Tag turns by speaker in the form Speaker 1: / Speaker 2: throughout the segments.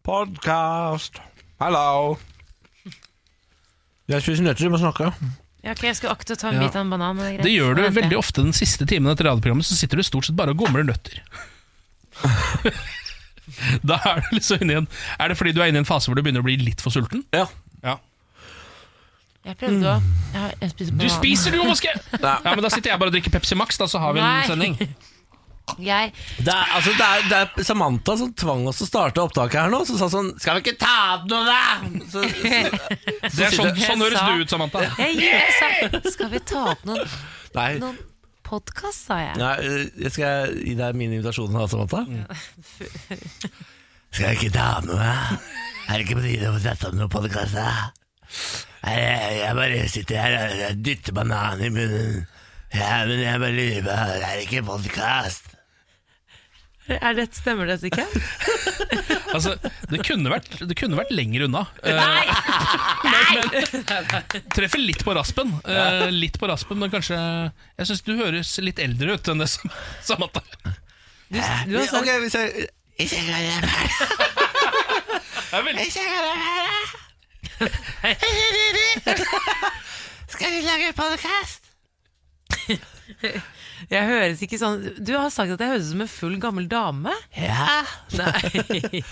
Speaker 1: Podkast.
Speaker 2: Hallo!
Speaker 1: Jeg spiser nøtter, du må snakke.
Speaker 3: Ja, ok, jeg skulle akte å ta en bit av en banan. men
Speaker 4: Det gjør du
Speaker 3: greit.
Speaker 4: veldig ofte den siste timen etter radioprogrammet, så sitter du stort sett bare og gomler nøtter. da er du liksom inne i en Er det fordi du er inne i en fase hvor du begynner å bli litt for sulten?
Speaker 1: Ja.
Speaker 3: Jeg prøvde å jeg har- jeg spiser
Speaker 4: Mm. Du
Speaker 3: banan.
Speaker 4: spiser, du, Moske! Ja, men da sitter jeg bare og drikker Pepsi Max, da, så har vi en
Speaker 3: Nei.
Speaker 4: sending.
Speaker 3: Jeg,
Speaker 1: Det er, altså, det, er, det er Samantha som tvang oss til å starte opptaket her nå. Som sa sånn 'Skal vi ikke ta opp noe, da?' Så, så,
Speaker 4: Det er sånn,
Speaker 3: sitter-
Speaker 4: sånn
Speaker 3: Jeg
Speaker 4: høres
Speaker 3: sa-
Speaker 4: du ut, Samantha.
Speaker 3: jeg, jeg sa Skal vi ta opp noen,
Speaker 1: nei.
Speaker 3: noen podkast, sa jeg.
Speaker 1: Nei, jeg skal gi deg min invitasjon da, Samantha. Skal jeg ikke ta med meg? Er det ikke på tide å sette opp noe podkast, da? Nei, Jeg, jeg bare sitter her og jeg dytter banan i munnen. Ja, men jeg bare lurer på, er det ikke podkast?
Speaker 3: Er det, stemmer dette ikke?
Speaker 4: Altså, det kunne vært, det kunne vært lenger unna. Eh, men, men treffer litt på raspen. Eh, litt på raspen, men kanskje Jeg syns du høres litt eldre ut enn det som Samantha.
Speaker 3: Du har sagt
Speaker 1: Ok, hvis jeg... Ikke kan jeg være
Speaker 4: Det er veldig-
Speaker 1: Ikke kan jeg være Skal vi lage podkast?
Speaker 3: Jeg høres ikke sånn Du har sagt at jeg høres ut som en full, gammel dame.
Speaker 1: Ja.
Speaker 3: Nei.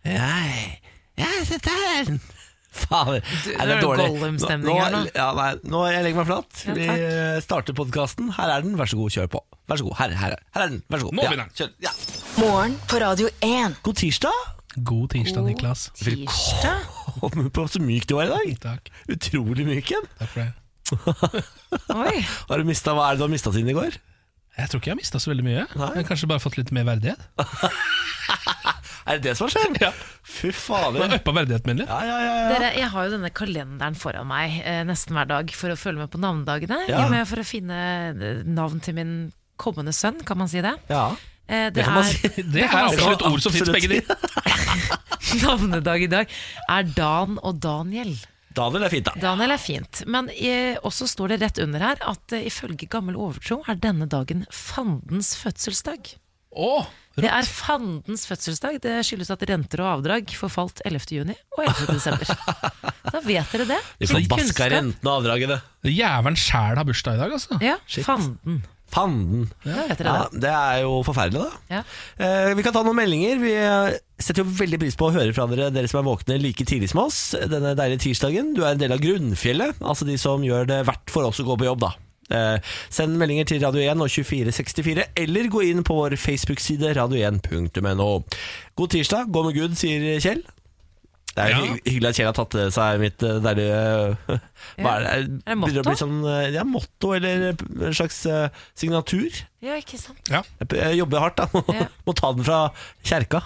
Speaker 1: Nei, ja, se der Fader,
Speaker 3: Du-
Speaker 1: er
Speaker 3: det
Speaker 1: det
Speaker 3: er
Speaker 1: dårlig
Speaker 3: Gollum-stemning her nå.
Speaker 1: Ja, nei, nå jeg legger meg flat
Speaker 3: Ja,
Speaker 1: Vi
Speaker 3: takk.
Speaker 1: eh, starter podcasten Her er den, vær så god, kjør på Vær så god, her, her, her er den, vær så god
Speaker 4: Nå
Speaker 1: ja,
Speaker 4: begynner den.
Speaker 1: kjør, ja.
Speaker 5: Morgen på Radio 1.
Speaker 1: God tirsdag
Speaker 4: God tirsdag, Niklas.
Speaker 3: Tirsdag?
Speaker 1: Kom på så myk du var i dag
Speaker 4: Takk,
Speaker 1: Utrolig myk igjen
Speaker 4: takk for det.
Speaker 3: Oi.
Speaker 1: Har du mistet, hva er det du har mistet siden i går?
Speaker 4: Jeg tror ikke jeg har mista så veldig mye.
Speaker 1: Nei.
Speaker 4: Jeg har kanskje bare fått litt mer verdighet.
Speaker 1: Er det det som har skjedd?
Speaker 4: Ja.
Speaker 1: Fy
Speaker 4: Jeg har
Speaker 1: fader
Speaker 4: Uppa verdigheten min litt.
Speaker 1: Ja, ja, ja, ja.
Speaker 3: Dere, jeg har jo denne kalenderen foran meg eh, nesten hver dag for å følge med på navnedagene.
Speaker 1: Ja.
Speaker 3: i og med For å finne eh, navn til min kommende sønn, kan man si det.
Speaker 1: ja.
Speaker 3: Eh, det,
Speaker 1: Det kan man
Speaker 3: er,
Speaker 1: si.
Speaker 4: Det er absolutt ord som fins,
Speaker 1: Absolutt.
Speaker 4: begge de.
Speaker 3: navnedag i dag er Dan og Daniel.
Speaker 1: Daniel er fint da
Speaker 3: Daniel er fint, men eh, også står det rett under her at eh, ifølge gammel overtro er denne dagen fandens fødselsdag.
Speaker 4: Åh,
Speaker 3: Det er fandens fødselsdag. Det skyldes at renter og avdrag forfalt 11. juni og 11. desember. Da vet dere det.
Speaker 1: De
Speaker 3: Litt
Speaker 1: forbaska
Speaker 3: kunnskap.
Speaker 1: renten og avdragene
Speaker 4: Jævelen sjæl har bursdag i dag, altså.
Speaker 3: Ja, fanden.
Speaker 1: Fanden
Speaker 3: Da vet dere
Speaker 1: Ja,
Speaker 3: det.
Speaker 1: det er jo forferdelig da
Speaker 3: Ja.
Speaker 1: Eh, Vi kan ta noen meldinger. Vi eh, setter jo veldig pris på å høre fra dere, dere som er våkne like tidlig som oss denne deilige tirsdagen. Du er en del av grunnfjellet, altså de som gjør det verdt for oss å gå på jobb, da. Eh, send meldinger til Radio 1 og 2464, eller gå inn på vår Facebook-side radio1.no. God tirsdag, gå med Gud, sier Kjell. Det er
Speaker 4: Ja.
Speaker 1: hy- hyggelig at Kjell har tatt til seg mitt eh, deilige eh, Hva er det?
Speaker 3: Er det
Speaker 1: Begynner å
Speaker 3: motto?
Speaker 1: bli sånn, eh, ja, motto, eller en slags eh, signatur.
Speaker 3: ja, ikke sant.
Speaker 1: Jeg p- Jeg jobber hardt, da. Må,
Speaker 3: Ja.
Speaker 1: må ta den fra kjerka.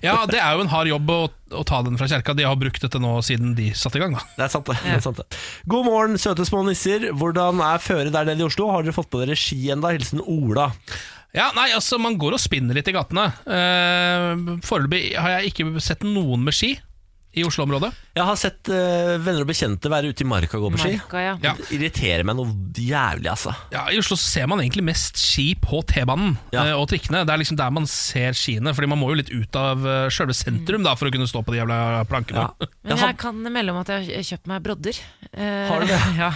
Speaker 4: Ja, Det er jo en hard jobb å, å ta den fra kjerka. De har brukt dette nå siden de satte i gang. da
Speaker 1: Det er sant, det. det, er sant, det. God morgen, søte små nisser. Hvordan er føret der nede i Oslo? Har dere fått på dere ski ennå? Hilsen Ola.
Speaker 4: Ja, nei, altså Man går og spinner litt i gatene. Eh, Foreløpig har jeg ikke sett noen med ski i Oslo-området.
Speaker 1: Jeg har sett eh, venner og bekjente være ute i marka og gå på ski.
Speaker 3: Marka, ja.
Speaker 4: Ja.
Speaker 1: Det irriterer meg noe jævlig, altså.
Speaker 4: Ja, I Oslo så ser man egentlig mest ski på T-banen
Speaker 1: Ja.
Speaker 4: eh, og trikkene. Det er liksom der man ser skiene, Fordi man må jo litt ut av eh, sjølve sentrum da for å kunne stå på de jævla plankene.
Speaker 1: Ja.
Speaker 3: Men
Speaker 1: Jeg
Speaker 3: jeg
Speaker 1: had,
Speaker 3: kan melde om at jeg har kjøpt meg brodder. Eh,
Speaker 1: Har du det?
Speaker 3: Ja,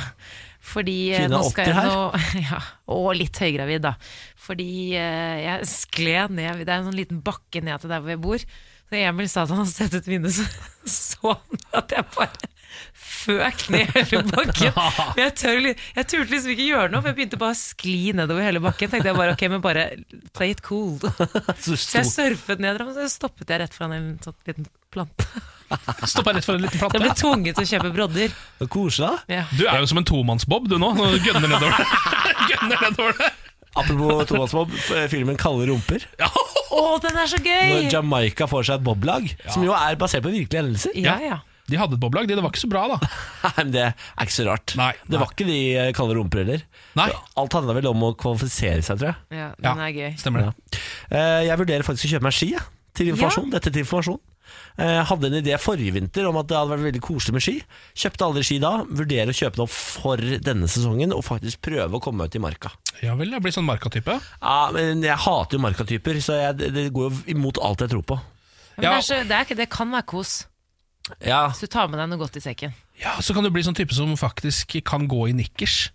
Speaker 3: fordi eh,
Speaker 1: Kvinne
Speaker 3: nå
Speaker 1: er
Speaker 3: skal jeg
Speaker 1: 80
Speaker 3: nå, ja, Og litt høygravid, da. Fordi eh, jeg skled ned Det er en sånn liten bakke ned til der hvor jeg bor. Så Emil sa at han hadde sett ut vinduet, så så han at jeg bare føk ned hele bakken. Men jeg, tør, li- jeg turte liksom ikke gjøre noe, for jeg begynte bare å skli nedover hele bakken. Tenkte jeg bare ok, men bare play it cool.
Speaker 1: så
Speaker 3: Så jeg
Speaker 1: sto,
Speaker 3: surfet ned, og så stoppet jeg rett foran en sånn liten plante.
Speaker 4: Stoppa rett for en liten
Speaker 3: Jeg ble
Speaker 4: plate.
Speaker 3: tvunget til å kjøpe brodder.
Speaker 1: så koselig, da.
Speaker 3: Ja.
Speaker 4: Du er jo som en tomannsbob du nå, når du gønner nedover det. gønner nedover det.
Speaker 1: Apropos Thomas Bob, f- filmen 'Kalde rumper'.
Speaker 4: Ja.
Speaker 3: Å, den er så gøy!
Speaker 1: Når Jamaica får seg et boblag, som jo er basert på virkelige hendelser.
Speaker 3: Ja, ja.
Speaker 4: De hadde et boblag, de. Det var ikke så bra, da.
Speaker 1: Nei, men Det er ikke så rart.
Speaker 4: Nei,
Speaker 1: det var ikke de eh, kalde rumper heller.
Speaker 4: Nei.
Speaker 1: Alt handla vel om å kvalifisere seg, tror jeg.
Speaker 3: ja
Speaker 4: Ja,
Speaker 3: den er gøy.
Speaker 4: Stemmer det.
Speaker 1: Eh, Jeg vurderer faktisk å kjøpe meg ski jeg, til informasjon. Dette til informasjon. Jeg hadde en idé forrige vinter om at det hadde vært veldig koselig med ski. Kjøpte aldri ski da. Vurderer å kjøpe det opp for denne sesongen og faktisk prøve å komme ut i marka.
Speaker 4: Ja vel, jeg blir sånn markatype.
Speaker 1: Ja, men Jeg hater jo markatyper, så jeg, det går jo imot alt jeg tror på.
Speaker 3: Men
Speaker 4: Ja.
Speaker 3: det, er så, det, er, ikke- det kan være kos.
Speaker 1: Ja,
Speaker 3: Så du tar med deg noe godt i sekken.
Speaker 4: Ja, Så kan du bli sånn type som faktisk kan gå i nikkers.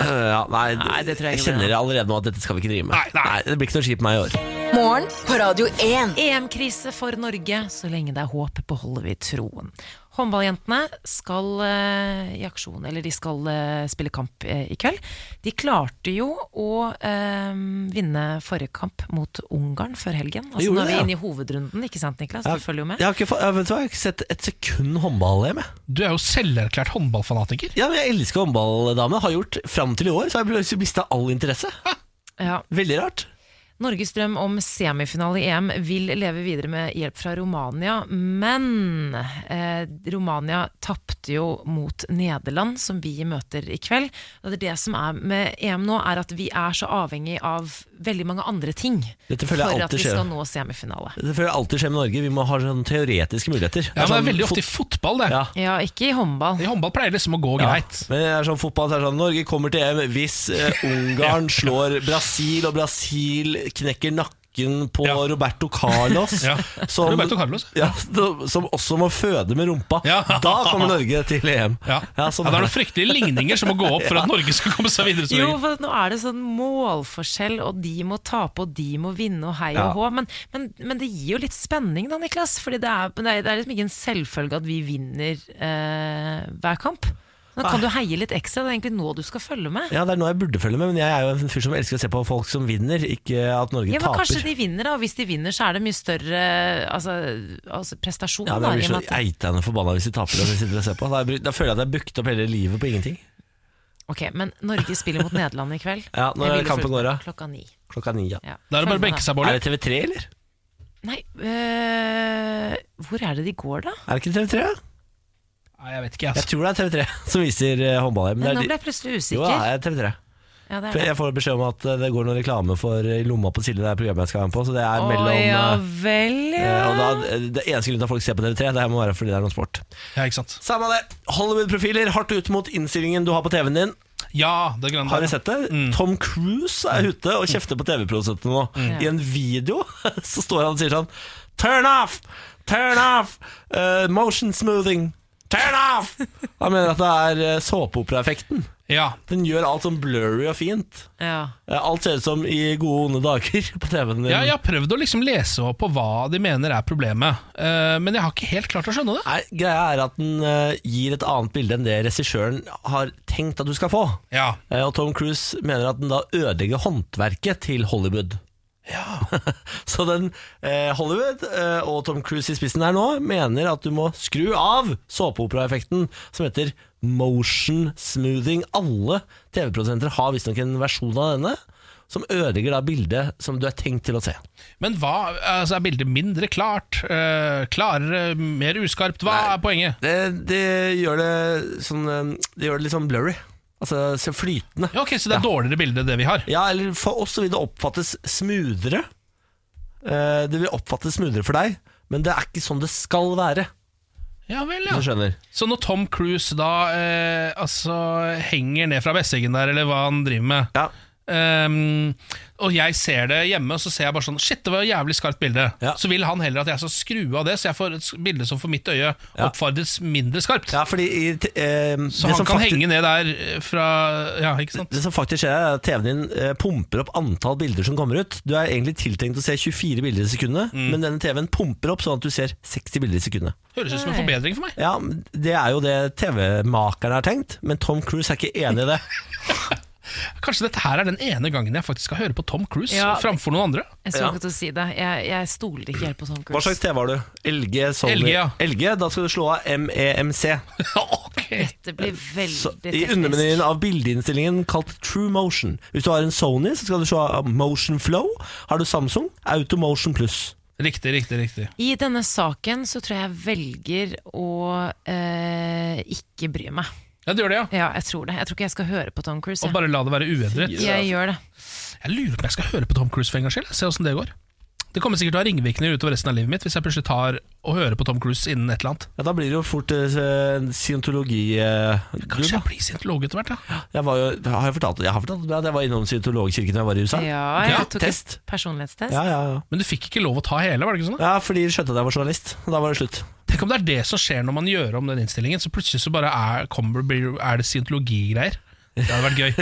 Speaker 1: øh, ja nei,
Speaker 3: Nei, det tror jeg
Speaker 1: jeg
Speaker 3: ikke blir
Speaker 1: kjenner allerede nå at dette skal vi ikke drive med.
Speaker 4: Nei, nei.
Speaker 1: Det blir ikke noe skip med meg i år.
Speaker 5: Morgen på Radio 1.
Speaker 3: EM-krise for Norge. Så lenge det er håp, beholder vi troen. Håndballjentene skal eh, i aksjon, eller de skal eh, spille kamp eh, i kveld. De klarte jo å eh, vinne forrige kamp mot Ungarn før helgen.
Speaker 1: De
Speaker 3: Altså,
Speaker 1: gjorde
Speaker 3: nå er
Speaker 1: det,
Speaker 3: vi
Speaker 1: ja.
Speaker 3: inne i hovedrunden, ikke sant Niklas?
Speaker 1: Ja.
Speaker 3: Du følger jo med.
Speaker 1: Jeg har ikke, fa- jeg vet du hva, jeg har ikke sett et sekund håndball-EM. jeg.
Speaker 4: Du er jo selverklært håndballfanatiker.
Speaker 1: Ja, men jeg elsker håndballdame. Har gjort fram til i år, så har jeg plutselig mista all interesse.
Speaker 3: Ja.
Speaker 1: Veldig rart.
Speaker 3: Norges drøm om semifinale i EM vil leve videre med hjelp fra Romania, men eh, Romania tapte jo mot Nederland, som vi møter i kveld. Og det, er det som er med EM nå, er at vi er så avhengig av veldig mange andre ting
Speaker 1: Dette
Speaker 3: for
Speaker 1: føler jeg
Speaker 3: at
Speaker 1: alltid
Speaker 3: vi
Speaker 1: skjer.
Speaker 3: skal nå semifinale.
Speaker 1: Det føler jeg alltid skjer med Norge. Vi må ha sånne teoretiske muligheter.
Speaker 4: Ja, men Det
Speaker 1: sånn
Speaker 4: er veldig ofte i
Speaker 1: fot-
Speaker 4: fotball, det.
Speaker 1: Ja.
Speaker 3: Ja, ikke i håndball.
Speaker 4: I håndball pleier det liksom å gå
Speaker 1: Ja.
Speaker 4: greit.
Speaker 1: Men det er sånn fotball så er det sånn Norge kommer til EM hvis eh, Ungarn slår Brasil, og Brasil knekker nakken på
Speaker 4: Ja.
Speaker 1: Roberto Carlos.
Speaker 4: Ja.
Speaker 1: Som,
Speaker 4: Roberto Carlos.
Speaker 1: Ja, da- som også må føde med rumpa.
Speaker 4: Ja.
Speaker 1: Da kommer Norge til EM.
Speaker 4: Ja.
Speaker 1: Ja,
Speaker 4: ja,
Speaker 1: sånn er
Speaker 4: Det er
Speaker 1: det.
Speaker 4: noen fryktelige ligninger som må gå opp for at Norge skal komme seg videre. som
Speaker 3: Jo,
Speaker 4: regel.
Speaker 3: for nå er det sånn målforskjell, og de må tape, og de må vinne, og hei
Speaker 1: Ja.
Speaker 3: og hå. Men, men, men det gir jo litt spenning da, Niklas. Fordi det er, det er- det er liksom ikke en selvfølge at vi vinner eh, hver kamp. Da kan du heie litt ekstra. Det er egentlig nå du skal følge med.
Speaker 1: Ja, det er noe jeg burde følge med, men jeg er jo en fyr som elsker å se på folk som vinner, ikke at Norge
Speaker 3: Ja, men
Speaker 1: taper.
Speaker 3: Kanskje de vinner, da. Og hvis de vinner, så er det mye større altså, altså prestasjon.
Speaker 1: Ja, men
Speaker 3: da,
Speaker 1: jeg
Speaker 3: i
Speaker 1: blir
Speaker 3: og
Speaker 1: så
Speaker 3: med at-
Speaker 1: eitende forbanna hvis de taper og vi sitter og ser på. Da, er jeg bru- da føler jeg at jeg har booket opp hele livet på ingenting.
Speaker 3: Ok, Men Norge spiller mot Nederland i kveld.
Speaker 1: Ja, når
Speaker 3: Jeg
Speaker 1: er
Speaker 3: ville
Speaker 1: kampen
Speaker 3: fulgt med
Speaker 1: går av?
Speaker 3: Klokka ni.
Speaker 1: Klokka ni, ja.
Speaker 3: Ja.
Speaker 4: Da er det bare
Speaker 3: Følg
Speaker 4: å
Speaker 3: med,
Speaker 4: benke seg,
Speaker 1: Er
Speaker 4: Bård.
Speaker 1: det TV3, eller?
Speaker 3: da. Nei, øh, hvor er det de går, da?
Speaker 1: Er det ikke TV3? ja?
Speaker 4: Nei, jeg vet ikke,
Speaker 1: Jeg
Speaker 4: altså.
Speaker 1: tror det er TV3 som viser eh, håndball. Men
Speaker 3: Nei,
Speaker 1: det
Speaker 3: nå
Speaker 1: er
Speaker 3: ble
Speaker 1: de-
Speaker 3: jeg plutselig
Speaker 1: jo, det
Speaker 3: usikker.
Speaker 1: er TV3.
Speaker 3: Ja, det er
Speaker 1: For
Speaker 3: det.
Speaker 1: jeg får beskjed om at eh, det går noen reklame for eh, Lomma på Silje, det er programmet jeg skal være med på. Så det er mellom
Speaker 3: Å ja
Speaker 1: eh,
Speaker 3: vel, ja.
Speaker 1: eh, og da, eh, Det eneste grunnen til at folk ser på TV3, det her må være fordi det er noe sport.
Speaker 4: Ja, ikke sant?
Speaker 1: Samme det. Hollywood-profiler hardt ut mot innstillingen du har på TV-en din.
Speaker 4: Ja, det grønne.
Speaker 1: Har du
Speaker 4: der.
Speaker 1: sett det? Tom Cruise
Speaker 4: Mm.
Speaker 1: er ute og kjefter på TV-produsentene nå. I en video så står han og sier sånn Turn off! Turn off! Eh, motion smoothing! Turn off! Han mener at det er eh, såpeoperaeffekten.
Speaker 4: Ja,
Speaker 1: Den gjør alt sånn blurry og fint.
Speaker 3: ja.
Speaker 1: Eh, alt ser ut som i gode, onde dager på TV-en din.
Speaker 4: Ja, jeg har prøvd å liksom lese opp på hva de mener er problemet, eh, men jeg har ikke helt klart å skjønne det.
Speaker 1: Nei, greia er at den eh, gir et annet bilde enn det regissøren har tenkt at du skal få.
Speaker 4: Ja,
Speaker 1: Eh, Og Tom Cruise mener at den da ødelegger håndverket til Hollywood. Så den eh, Hollywood eh, og Tom Cruise i spissen her nå mener at du må skru av såpeoperaeffekten som heter motion smoothing. Alle TV-produsenter har visstnok en versjon av denne som ødelegger da bildet som du er tenkt til å se.
Speaker 4: Men hva, altså er bildet mindre klart, eh, klarere, mer uskarpt? Hva
Speaker 1: Nei.
Speaker 4: er poenget?
Speaker 1: Det, det gjør det sånn eh, Det gjør det litt sånn blurry. Altså så flytende.
Speaker 4: Ja, ok, Så det er dårligere bilde det vi har?
Speaker 1: Ja, eller for oss så vil det oppfattes smoothere. Eh, Det vil oppfattes smoothere for deg, men det er ikke sånn det skal være.
Speaker 4: Ja vel,
Speaker 1: Hvis du
Speaker 4: ja.
Speaker 1: skjønner.
Speaker 4: Så når Tom Cruise da eh, altså henger ned fra Besseggen der, eller hva han driver med
Speaker 1: Ja.
Speaker 4: ehm, og jeg ser det hjemme, og så ser jeg bare sånn Shit, det var et jævlig skarpt bilde.
Speaker 1: Ja.
Speaker 4: Så vil han heller at jeg skal skru av det, så jeg får et bilde som for mitt øye oppfordres mindre skarpt.
Speaker 1: ja, fordi i, t- eh,
Speaker 4: Så
Speaker 1: det,
Speaker 4: han
Speaker 1: som
Speaker 4: kan
Speaker 1: faktisk,
Speaker 4: henge ned der eh, fra Ja, ikke sant?
Speaker 1: det som faktisk skjer, er at TV-en din eh, pumper opp antall bilder som kommer ut. Du er egentlig tiltenkt å se 24 bilder i sekundet,
Speaker 4: Mm.
Speaker 1: men denne TV-en pumper opp sånn at du ser 60 bilder i sekundet.
Speaker 4: Høres ut som en
Speaker 3: Nei.
Speaker 4: forbedring for meg.
Speaker 1: Ja, Det er jo det TV-makerne har tenkt, men Tom Cruise er ikke enig i det.
Speaker 4: Kanskje dette her er den ene gangen jeg faktisk skal høre på Tom Cruise
Speaker 3: Ja.
Speaker 4: framfor noen andre.
Speaker 3: Jeg skulle
Speaker 1: Ja.
Speaker 3: akkurat til å si det. Jeg, jeg stoler ikke helt på sånn Tom
Speaker 1: Hva
Speaker 3: Cruise.
Speaker 1: slags TV har du? LG? Sony?
Speaker 4: LG, ja.
Speaker 1: LG, Da skal du slå av E MEMC.
Speaker 4: ok
Speaker 3: Det blir veldig
Speaker 1: Eh, Så, I
Speaker 3: teknisk.
Speaker 1: undermenyen av bildeinnstillingen kalt True Motion. Hvis du har en Sony, så skal du se av Motion Flow. Har du Samsung, Automotion Plus.
Speaker 4: Riktig, riktig, riktig.
Speaker 3: I denne saken så tror jeg jeg velger å eh, ikke bry meg.
Speaker 4: Ja, det gjør det, ja.
Speaker 3: Ja, jeg tror det. Jeg tror ikke jeg skal høre på Tom Cruise.
Speaker 4: Og
Speaker 3: Jeg,
Speaker 4: bare la det være uendret.
Speaker 3: jeg gjør det.
Speaker 4: Jeg lurer på om jeg skal høre på Tom Cruise for en gangs skyld. Se åssen det går. Det kommer sikkert til å ha ringvirkninger utover resten av livet mitt hvis jeg plutselig tar og hører på Tom Cruise innen et eller annet.
Speaker 1: Ja, Da blir det jo fort eh, en scientologi... eh, grubb,
Speaker 4: Kanskje
Speaker 1: da.
Speaker 4: jeg blir scientolog etter hvert, ja.
Speaker 1: Jeg var jo, har jeg fortalt det? Jeg har fortalt det, at jeg var innom scientologkirken da jeg var i USA.
Speaker 3: Ja,
Speaker 4: Ja,
Speaker 3: jeg tok et
Speaker 1: test.
Speaker 3: personlighetstest.
Speaker 1: Ja, ja, ja.
Speaker 4: Men du fikk ikke lov å ta hele, var det ikke sånn? da?
Speaker 1: ja, fordi de skjønte at jeg var journalist. og Da var det slutt.
Speaker 4: Tenk om det er det som skjer når man gjør om den innstillingen, så plutselig så bare er, kommer, blir, er det scientologigreier. Det hadde vært gøy.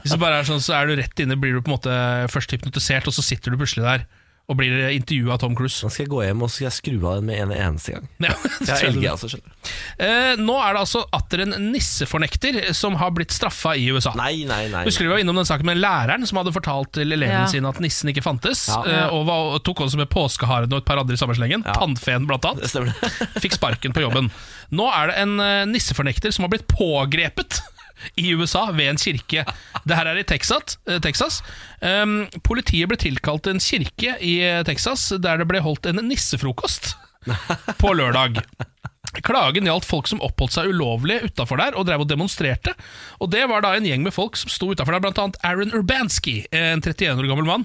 Speaker 4: Hvis det bare er sånn, så er du rett inne, blir du på en måte først hypnotisert, og så sitter du plutselig der og blir intervjua av Tom Cruise.
Speaker 1: Nå skal jeg gå hjem og så skal jeg skru av den med en eneste gang.
Speaker 4: Ja,
Speaker 1: Jeg er LG, altså, skjønner du.
Speaker 4: Eh, nå er det altså atter en nissefornekter som har blitt straffa i USA.
Speaker 1: Nei, nei, nei.
Speaker 4: Husker du vi var innom den saken med læreren som hadde fortalt til eleven
Speaker 3: Ja.
Speaker 4: sin at nissen ikke fantes?
Speaker 1: Ja.
Speaker 4: eh, Og, var, og tok også med påskeharen og et par andre i samme slengen. Tannfeen, blant annet.
Speaker 1: Det stemmer det.
Speaker 4: Fikk sparken på jobben. Nå er det en eh, nissefornekter som har blitt pågrepet i USA ved en kirke. Det her er i Texas. eh, Texas. Um, politiet ble tilkalt til en kirke i eh, Texas der det ble holdt en nissefrokost på lørdag. Klagen gjaldt folk som oppholdt seg ulovlig utafor der og drev og demonstrerte. Og Det var da en gjeng med folk som sto utafor der, bl.a. Aaron Urbanski, en 31 år gammel mann.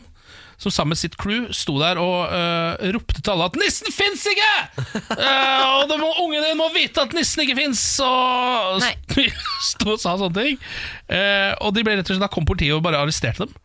Speaker 4: Som sammen med sitt crew sto der og øh, ropte til alle at 'nissen fins ikke!' Eh, og det må, ungen din må vite at nissen ikke fins! Og
Speaker 3: Nei.
Speaker 4: sto og sa sånne ting. Eh, og de ble rett og slett, da kom politiet og bare arresterte dem.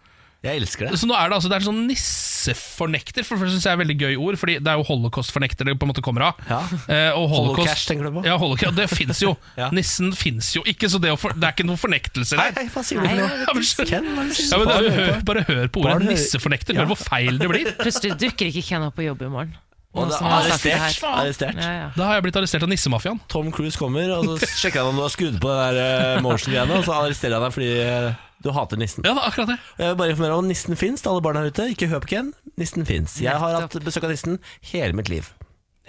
Speaker 1: Jeg elsker det.
Speaker 4: Så nå er det altså det er en sånn nissefornekter, for det synes jeg er et veldig gøy ord, fordi det er jo holocaustfornekter det på en måte kommer av.
Speaker 1: Ja.
Speaker 4: Eh, og holocaust,
Speaker 1: Holocaust tenker du på?
Speaker 4: Ja, holocaust, det finnes jo.
Speaker 1: Ja.
Speaker 4: Nissen finnes jo ikke, så det, å for, det er ikke noen fornektelse
Speaker 1: Nei,
Speaker 4: der.
Speaker 1: nei, hva sier du for
Speaker 3: Nei,
Speaker 1: noe?
Speaker 4: Ja, men skjønn-
Speaker 1: Ken, hva er det du
Speaker 4: ja,
Speaker 1: sier?
Speaker 4: men da, hør, bare hør på
Speaker 1: Bare
Speaker 4: ordet
Speaker 1: hør-
Speaker 4: nissefornekter,
Speaker 1: Ja.
Speaker 4: hør hvor feil det blir.
Speaker 3: Plutselig dukker ikke Ken opp på jobb i morgen.
Speaker 1: Og
Speaker 3: Nå
Speaker 1: det
Speaker 3: som
Speaker 1: er
Speaker 3: han har sagt det
Speaker 1: Arrestert.
Speaker 4: her.
Speaker 1: arrestert.
Speaker 3: her. Ja, ja.
Speaker 4: Da har jeg blitt arrestert av nissemafiaen.
Speaker 1: Tom Cruise kommer, og så sjekker han om du har skrudd på det der eh, motion-greiene, og så arresterer han deg fordi eh, du hater nissen.
Speaker 4: Ja, det er akkurat det.
Speaker 1: Jeg vil bare informere om at nissen fins til alle barn her ute. Ikke hør på Ken, nissen fins. Jeg har hatt besøk av nissen hele mitt liv.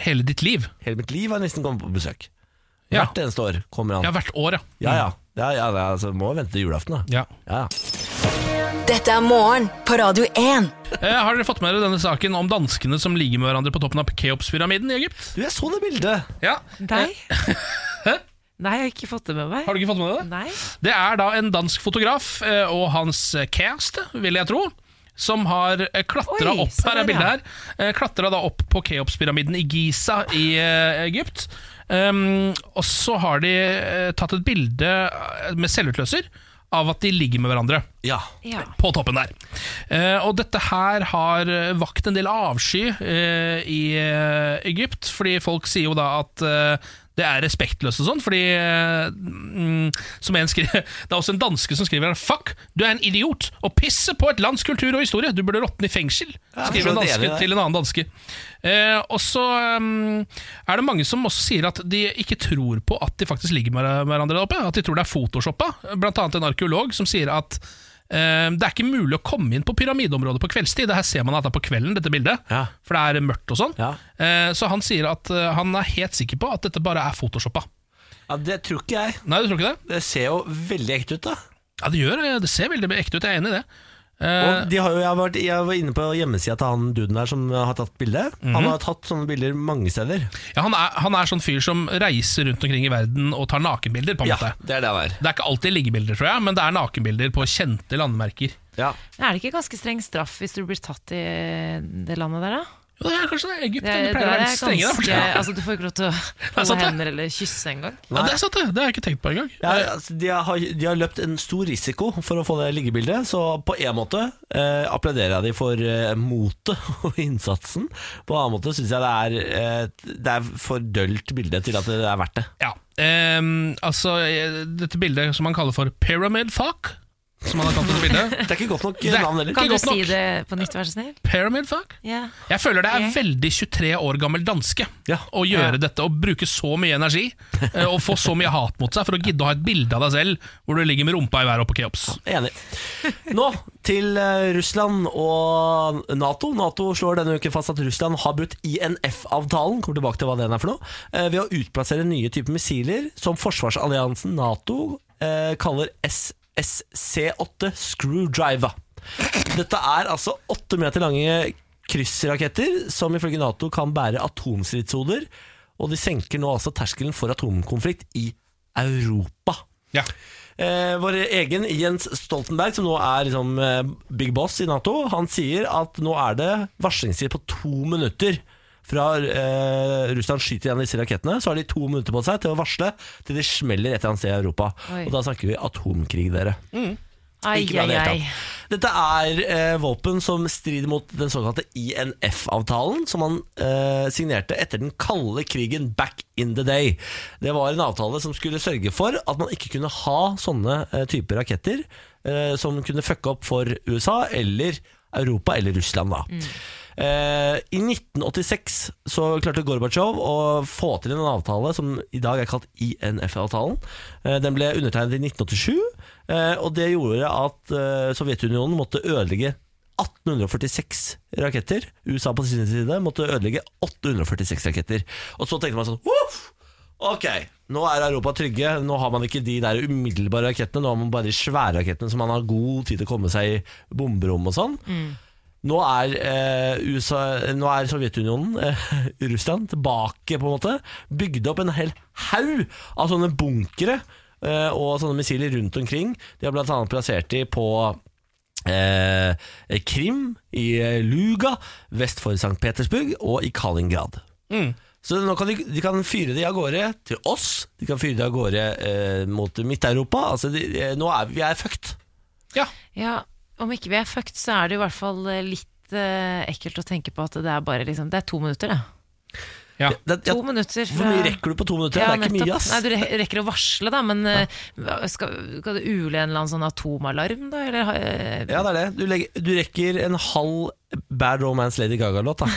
Speaker 4: Hele ditt liv.
Speaker 1: Hele mitt liv har nissen kommet på besøk.
Speaker 4: Ja.
Speaker 1: Hvert eneste år kommer
Speaker 4: Ja,
Speaker 1: han.
Speaker 4: hvert år, ja.
Speaker 1: Ja, ja. ja, ja, ja altså, må vente til julaften, da.
Speaker 4: ja.
Speaker 1: Ja, ja.
Speaker 5: Dette er morgen på Radio 1.
Speaker 4: Eh, har dere fått med dere denne saken om danskene som ligger med hverandre på toppen av Keops-pyramiden i Egypt?
Speaker 1: Du, jeg så det bildet!
Speaker 4: Ja.
Speaker 3: Deg? Nei, jeg har ikke fått det med meg.
Speaker 4: Har du ikke fått med deg det?
Speaker 3: Nei.
Speaker 4: Det er da en dansk fotograf eh, og hans kjæreste, vil jeg tro, som har klatra
Speaker 3: Oi,
Speaker 4: opp
Speaker 3: se
Speaker 4: Her er
Speaker 3: der, ja.
Speaker 4: bildet her. eh, Klatret da opp på Keopspyramiden i Giza i eh, Egypt. Um, og så har de eh, tatt et bilde eh, med selvutløser av at de ligger med hverandre
Speaker 1: Ja.
Speaker 3: Ja.
Speaker 4: på toppen der. Eh, og dette her har eh, vakt en del avsky eh, i eh, Egypt, fordi folk sier jo da at eh, det er respektløst og sånn, fordi eh, mm, som en skri- Det er også en danske som skriver her Fuck, du er en idiot og pisser på et lands kultur og historie. Du burde råtne i fengsel.
Speaker 1: Ja,
Speaker 4: Skriver en
Speaker 1: jeg er enig i
Speaker 4: danske
Speaker 1: det.
Speaker 4: til en annen danske. Eh, og så eh, er det mange som også sier at de ikke tror på at de faktisk ligger med hverandre der oppe. At de tror det er photoshoppa. Blant annet en arkeolog som sier at eh, det er ikke mulig å komme inn på pyramideområdet på kveldstid. Det her ser man at det er på kvelden, dette bildet.
Speaker 1: Ja.
Speaker 4: For det er mørkt og sånn.
Speaker 1: Ja.
Speaker 4: Eh, så han sier at eh, han er helt sikker på at dette bare er photoshoppa.
Speaker 1: ja, det tror ikke jeg.
Speaker 4: Nei, du tror ikke det?
Speaker 1: Det ser jo veldig ekte ut, da.
Speaker 4: Ja, det gjør det. Det ser veldig ekte ut, jeg er enig i det. Eh,
Speaker 1: Og de har jo, jeg, har vært, jeg var inne på hjemmesida til han duden der som har tatt bilde. Han har tatt sånne bilder mange steder.
Speaker 4: ja, han, er, han er sånn fyr som reiser rundt omkring i verden og tar nakenbilder, på en måte.
Speaker 1: det er det han er.
Speaker 4: Det er ikke alltid liggebilder, tror jeg, men det er nakenbilder på kjente landemerker.
Speaker 1: Ja.
Speaker 3: Er det ikke ganske streng straff hvis du blir tatt i det landet der, da?
Speaker 4: Jo, det er kanskje det. Egypt
Speaker 3: Det,
Speaker 4: det
Speaker 3: der
Speaker 4: pleier å
Speaker 3: er
Speaker 4: være litt strenge der.
Speaker 3: ganske-
Speaker 4: borte.
Speaker 3: altså, du får ikke lov til å
Speaker 4: sant,
Speaker 3: holde
Speaker 4: det.
Speaker 3: hender eller kysse engang.
Speaker 4: Ja, det er sant, det. Det har jeg ikke tenkt på engang. Eh,
Speaker 1: Ja, altså, de, har, de har løpt en stor risiko for å få det liggebildet, så på en måte eh, applauderer jeg de for eh, motet og innsatsen. På en annen måte syns jeg det er, eh, det er for dølt bilde til at det er verdt det.
Speaker 4: Ja. ehm, altså, eh, dette bildet som han kaller for Pyramid Fuck, som han har kalt dette bildet.
Speaker 1: Det er ikke godt nok
Speaker 4: Det er-
Speaker 1: navn heller.
Speaker 4: Ikke
Speaker 3: Kan du
Speaker 4: godt nok.
Speaker 3: si det på nytt, vær så snill?
Speaker 4: Pyramid Fuck?
Speaker 3: Ja.
Speaker 4: Jeg føler det er
Speaker 3: Ok.
Speaker 4: veldig 23 år gammel danske
Speaker 1: Ja.
Speaker 4: å
Speaker 3: Ja.
Speaker 4: gjøre dette, å bruke så mye energi eh, og få så mye hat mot seg for å gidde å ha et bilde av deg selv hvor du ligger med rumpa i været oppe på Keops.
Speaker 1: Enig. Nå til eh, Russland og Nato. Nato slår denne uken fast at Russland har brutt INF-avtalen. Kommer tilbake til hva den er for noe. eh, Ved å utplassere nye typer missiler som forsvarsalliansen Nato eh, kaller SSC-8 Screwdriver. Dette er altså åtte meter lange kryssraketter som ifølge Nato kan bære atomstridshoder. Og de senker nå altså terskelen for atomkonflikt i Europa.
Speaker 4: Ja.
Speaker 1: Eh, vår egen Jens Stoltenberg, som nå er liksom, eh, big boss i Nato, han sier at nå er det varslingstid på to minutter. Fra eh, Russland skyter igjen disse rakettene, så har de to minutter på seg til å varsle til det smeller et eller annet sted i Europa.
Speaker 3: Oi.
Speaker 1: Og da snakker vi atomkrig, dere.
Speaker 3: Ai,
Speaker 1: Ikke bra i
Speaker 3: ai,
Speaker 1: det hele
Speaker 3: ai.
Speaker 1: tatt. Dette er eh, våpen som strider mot den såkalte INF-avtalen, som han eh, signerte etter den kalde krigen back in the day. Det var en avtale som skulle sørge for at man ikke kunne ha sånne eh, typer raketter eh, som kunne fucke opp for USA eller Europa eller Russland. da.
Speaker 3: Mm.
Speaker 1: Eh, I 1986 så klarte Gorbatsjov å få til en avtale som i dag er kalt INF-avtalen. Eh, den ble undertegnet i 1987, eh, og det gjorde at eh, Sovjetunionen måtte ødelegge 1846 raketter. USA på sin side måtte ødelegge 846 raketter. Og så tenkte man sånn Uff! Ok, nå er Europa trygge. Nå har man ikke de der umiddelbare rakettene, nå har man bare de svære rakettene som man har god tid til å komme seg i bomberom og sånn. Nå er, eh, USA, nå er Sovjetunionen, eh, Russland, tilbake på en måte. Bygde opp en hel haug av sånne bunkere eh, og sånne missiler rundt omkring. De har blant annet plassert de på eh, Krim, i eh, Luga, vest for St. Petersburg og i Kaliningrad.
Speaker 3: Mm.
Speaker 1: Så nå kan de, de kan fyre det av gårde til oss, de kan fyre det av gårde eh, mot Midt-Europa. Altså, de, eh, nå er vi er fucked.
Speaker 4: ja.
Speaker 3: Ja, om ikke vi er fucked, så er det i hvert fall eh, litt eh, ekkelt å tenke på at det er bare liksom, det er to minutter, det.
Speaker 4: ja.
Speaker 1: Det, ja,
Speaker 3: To minutter
Speaker 1: hvor
Speaker 3: fra
Speaker 1: mye rekker du på to minutter? det
Speaker 3: Ja,
Speaker 1: er ikke
Speaker 3: nettopp.
Speaker 1: mye, ass.
Speaker 3: Nei, du re- rekker å varsle, da, men eh, skal, skal du ule en eller annen sånn atomalarm, da? Eller, eh,
Speaker 1: Ja, det er det. Du, legger, du rekker en halv Bad Romance Lady Gaga-låt, da.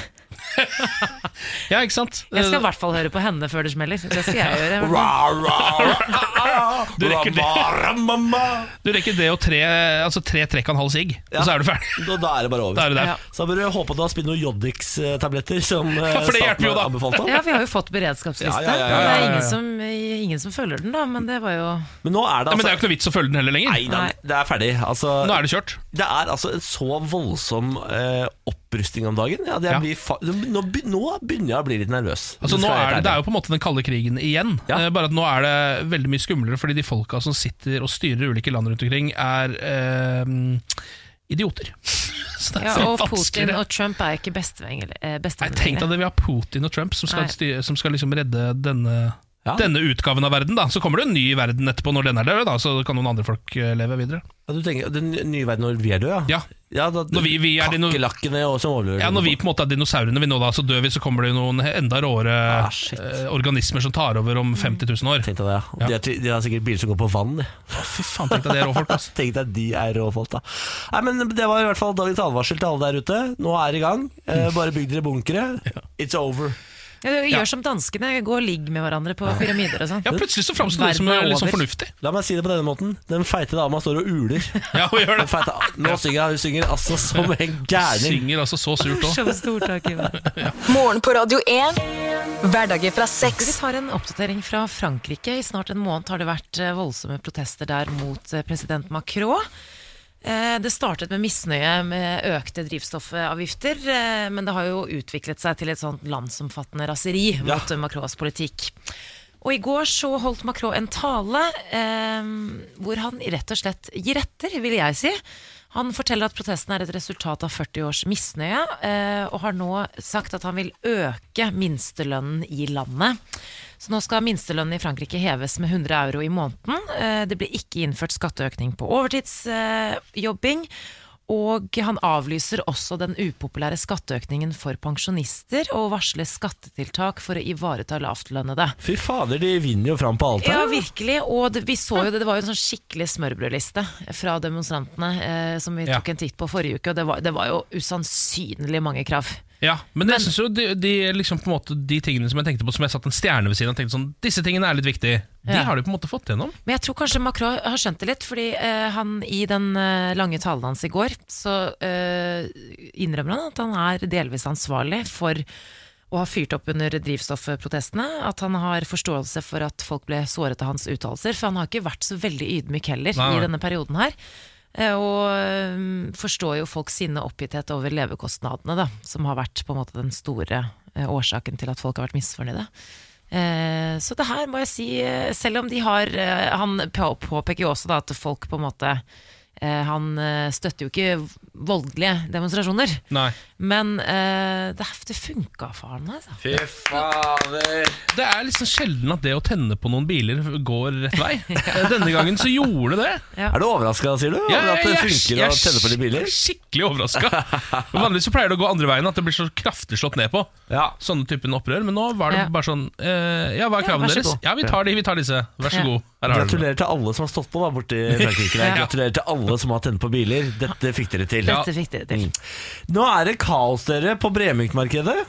Speaker 4: ja, ikke sant?
Speaker 3: jeg skal i hvert fall høre på henne før det smeller. Det skal jeg gjøre. i hvert fall.
Speaker 1: Ra, ra, ra, ra,
Speaker 4: Du rekker det.
Speaker 1: ra, ra, ma, ma.
Speaker 4: Du rekker det og tre, altså tre trekk og en halv sigg,
Speaker 1: Ja.
Speaker 4: og så er du ferdig.
Speaker 1: Da, da er det bare
Speaker 4: Da
Speaker 1: over.
Speaker 4: er du der.
Speaker 3: Ja.
Speaker 1: Så da bør du håpe at du har spilt noen Jodix-tabletter, som eh,
Speaker 4: Ja, for det hjelper
Speaker 1: staten
Speaker 4: jo da.
Speaker 1: har anbefalt. om.
Speaker 3: Ja, vi har jo fått beredskapsliste.
Speaker 1: Ja, ja, ja, ja,
Speaker 4: ja,
Speaker 3: Det
Speaker 4: ja,
Speaker 3: er
Speaker 4: ja.
Speaker 3: ingen som, eh, ingen som følger den, da, men det var jo
Speaker 1: Men nå er det
Speaker 4: Nei, men det
Speaker 1: altså
Speaker 4: er jo ikke noe vits å følge den heller
Speaker 1: Nei
Speaker 4: lenger.
Speaker 1: da,
Speaker 3: Nei.
Speaker 1: det er ferdig. Altså,
Speaker 4: Nå er det kjørt.
Speaker 1: Det er altså en så voldsom eh, opprustning om dagen. Ja, det
Speaker 4: Ja.
Speaker 1: blir fa nå, be- nå begynner jeg å bli litt nervøs.
Speaker 4: Altså, nå er det, det er jo på en måte den kalde krigen igjen,
Speaker 1: Ja.
Speaker 4: eh, bare at nå er det veldig mye skumlere fordi de folka som sitter og styrer ulike land rundt omkring, er eh, idioter. Så det er
Speaker 3: ja,
Speaker 4: så
Speaker 3: Og Putin
Speaker 4: vanskeligere.
Speaker 3: og Trump er ikke bestevenn- eh,
Speaker 4: Nei, tenk
Speaker 3: bestevenner.
Speaker 4: deg det, vi har Putin og Trump som skal,
Speaker 3: Nei.
Speaker 4: styre, som skal liksom redde denne,
Speaker 1: Ja.
Speaker 4: denne utgaven av verden. da Så kommer det en ny verden etterpå, når den er død, da, så kan noen andre folk eh, leve videre.
Speaker 1: ja, Du tenker Den nye verden når vi er døde, ja?
Speaker 4: Ja.
Speaker 1: da,
Speaker 4: Når vi- vi er de no-
Speaker 1: kakerlakkene og som overlever.
Speaker 4: Ja, Når vi på en måte er dinosaurene, vi nå da, så dør vi, så kommer det jo noen enda råere
Speaker 1: Ah, shit.
Speaker 4: eh, organismer som tar over om 50 000 år.
Speaker 1: Tenk deg det, ja. De, har, de har sikkert biler som går på vann. de.
Speaker 4: Fy faen, tenk deg det, råfolk. Altså.
Speaker 1: Tenk deg de er råfolk, da. Nei, men Det var i hvert fall dagens advarsel til alle der ute. Nå er det i gang. Eh, bare bygg dere bunkere. It's over.
Speaker 3: Ja, du gjør som danskene, gå og ligg med hverandre på pyramider og sånn.
Speaker 4: Ja, plutselig så framstår
Speaker 3: Verden
Speaker 4: det som
Speaker 3: er
Speaker 4: litt sånn
Speaker 3: over.
Speaker 4: fornuftig.
Speaker 1: La meg si det på denne måten. Den feite dama står og uler.
Speaker 4: Ja, hun gjør
Speaker 1: Den
Speaker 4: det.
Speaker 1: feite, nå synger hun, hun synger altså som en gærning.
Speaker 4: Synger altså så surt òg.
Speaker 3: Som stortak, Ivar.
Speaker 5: Morgen på Radio 1. Hverdager fra
Speaker 3: Vi
Speaker 5: seks.
Speaker 3: tar en oppdatering fra Frankrike. I snart en måned har det vært eh, voldsomme protester der mot eh, president Macron. Eh, Det startet med misnøye med økte drivstoffavgifter, eh, men det har jo utviklet seg til et sånt landsomfattende raseri mot eh, Macrons politikk. Og i går så holdt Macron en tale eh, hvor han rett og slett gir etter, vil jeg si. Han forteller at protesten er et resultat av 40 års misnøye, eh, og har nå sagt at han vil øke minstelønnen i landet. Så nå skal minstelønnen i Frankrike heves med 100 euro i måneden. Eh, Det blir ikke innført skatteøkning på overtidsjobbing. Og han avlyser også den upopulære skatteøkningen for pensjonister, og varsler skattetiltak for å ivareta lavtlønnede.
Speaker 1: Fy fader, de vinner jo fram på alt
Speaker 3: Ja,
Speaker 1: her.
Speaker 3: virkelig. Og det, vi så jo det, det var jo en sånn skikkelig smørbrødliste fra demonstrantene eh, som vi
Speaker 4: Ja.
Speaker 3: tok en titt på forrige uke, og det var, det var jo usannsynlig mange krav.
Speaker 4: Ja, men jeg synes jo de, de, liksom på en måte, de tingene som jeg tenkte på som jeg satt en stjerne ved siden av og tenkte sånn Disse tingene er litt viktige. De
Speaker 3: Ja.
Speaker 4: har de på en måte fått gjennom.
Speaker 3: Men jeg tror kanskje Macron har skjønt det litt, fordi eh, han i den eh, lange talen hans i går, så eh, innrømmer han at han er delvis ansvarlig for å ha fyrt opp under drivstoffprotestene. At han har forståelse for at folk ble såret av hans uttalelser. For han har ikke vært så veldig ydmyk heller
Speaker 4: Nei, nei.
Speaker 3: i denne perioden her. Eh, Og eh, forstår jo folks sinne og oppgitthet over levekostnadene, da, som har vært på en måte den store eh, årsaken til at folk har vært misfornøyde. Eh, Så det her må jeg si, eh, selv om de har eh, Han på- påpeker jo også da at folk på en måte eh, Han eh, støtter jo ikke voldelige demonstrasjoner.
Speaker 4: Nei.
Speaker 3: Men eh, det, det funka for han, altså.
Speaker 1: Fy fader.
Speaker 4: Det er liksom sjelden at det å tenne på noen biler går rett vei. Denne gangen så gjorde det det.
Speaker 1: Er du overraska, sier du? over at det funker å tenne på de
Speaker 4: Jeg
Speaker 1: biler?
Speaker 4: er skikkelig overraska. Vanligvis så pleier det å gå andre veien, at det blir så kraftig slått ned på.
Speaker 1: Ja.
Speaker 4: Sånne typen opprør. Men nå var det
Speaker 3: Ja.
Speaker 4: bare sånn eh, Ja, hva
Speaker 3: Ja, vær
Speaker 4: er kravene
Speaker 3: så
Speaker 4: deres?
Speaker 3: god.
Speaker 4: Ja, vi tar de, vi tar disse. Vær så
Speaker 3: Ja.
Speaker 4: god. Her har du det.
Speaker 1: Gratulerer til alle som har stått på da borte i Frankrike. der.
Speaker 3: Ja.
Speaker 1: Gratulerer til alle som har tent på biler. Dette fikk dere til.
Speaker 3: Dette fikk dere til.
Speaker 1: Mm. Nå er det kaos, dere, på Bremyk-markedet.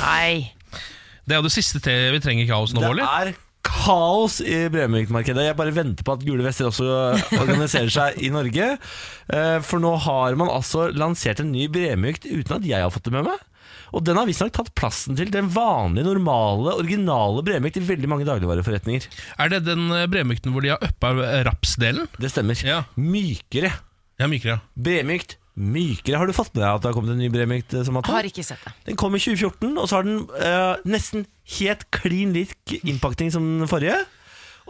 Speaker 3: Nei.
Speaker 4: Det er jo det siste te vi trenger kaos nå,
Speaker 1: Det
Speaker 4: Våler.
Speaker 1: er kaos i Bremyk-markedet. Jeg bare venter på at Gule Vester også organiserer seg i Norge. Eh, For nå har man altså lansert en ny Bremykt uten at jeg har fått det med meg. Og den har visstnok tatt plassen til den vanlige, normale, originale Bremykt i veldig mange dagligvareforretninger.
Speaker 4: Er det den eh, bremykten hvor de har uppa rapsdelen?
Speaker 1: Det stemmer.
Speaker 4: Ja.
Speaker 1: Mykere.
Speaker 4: Ja, mykere. ja.
Speaker 1: Bremykt. Mykere. Har du fått med deg at det har kommet en ny Bremykt? eh, Som har tatt?
Speaker 3: Har ikke sett det.
Speaker 1: Den kom i 2014, og så har den eh, nesten helt klin lik innpakning som den forrige.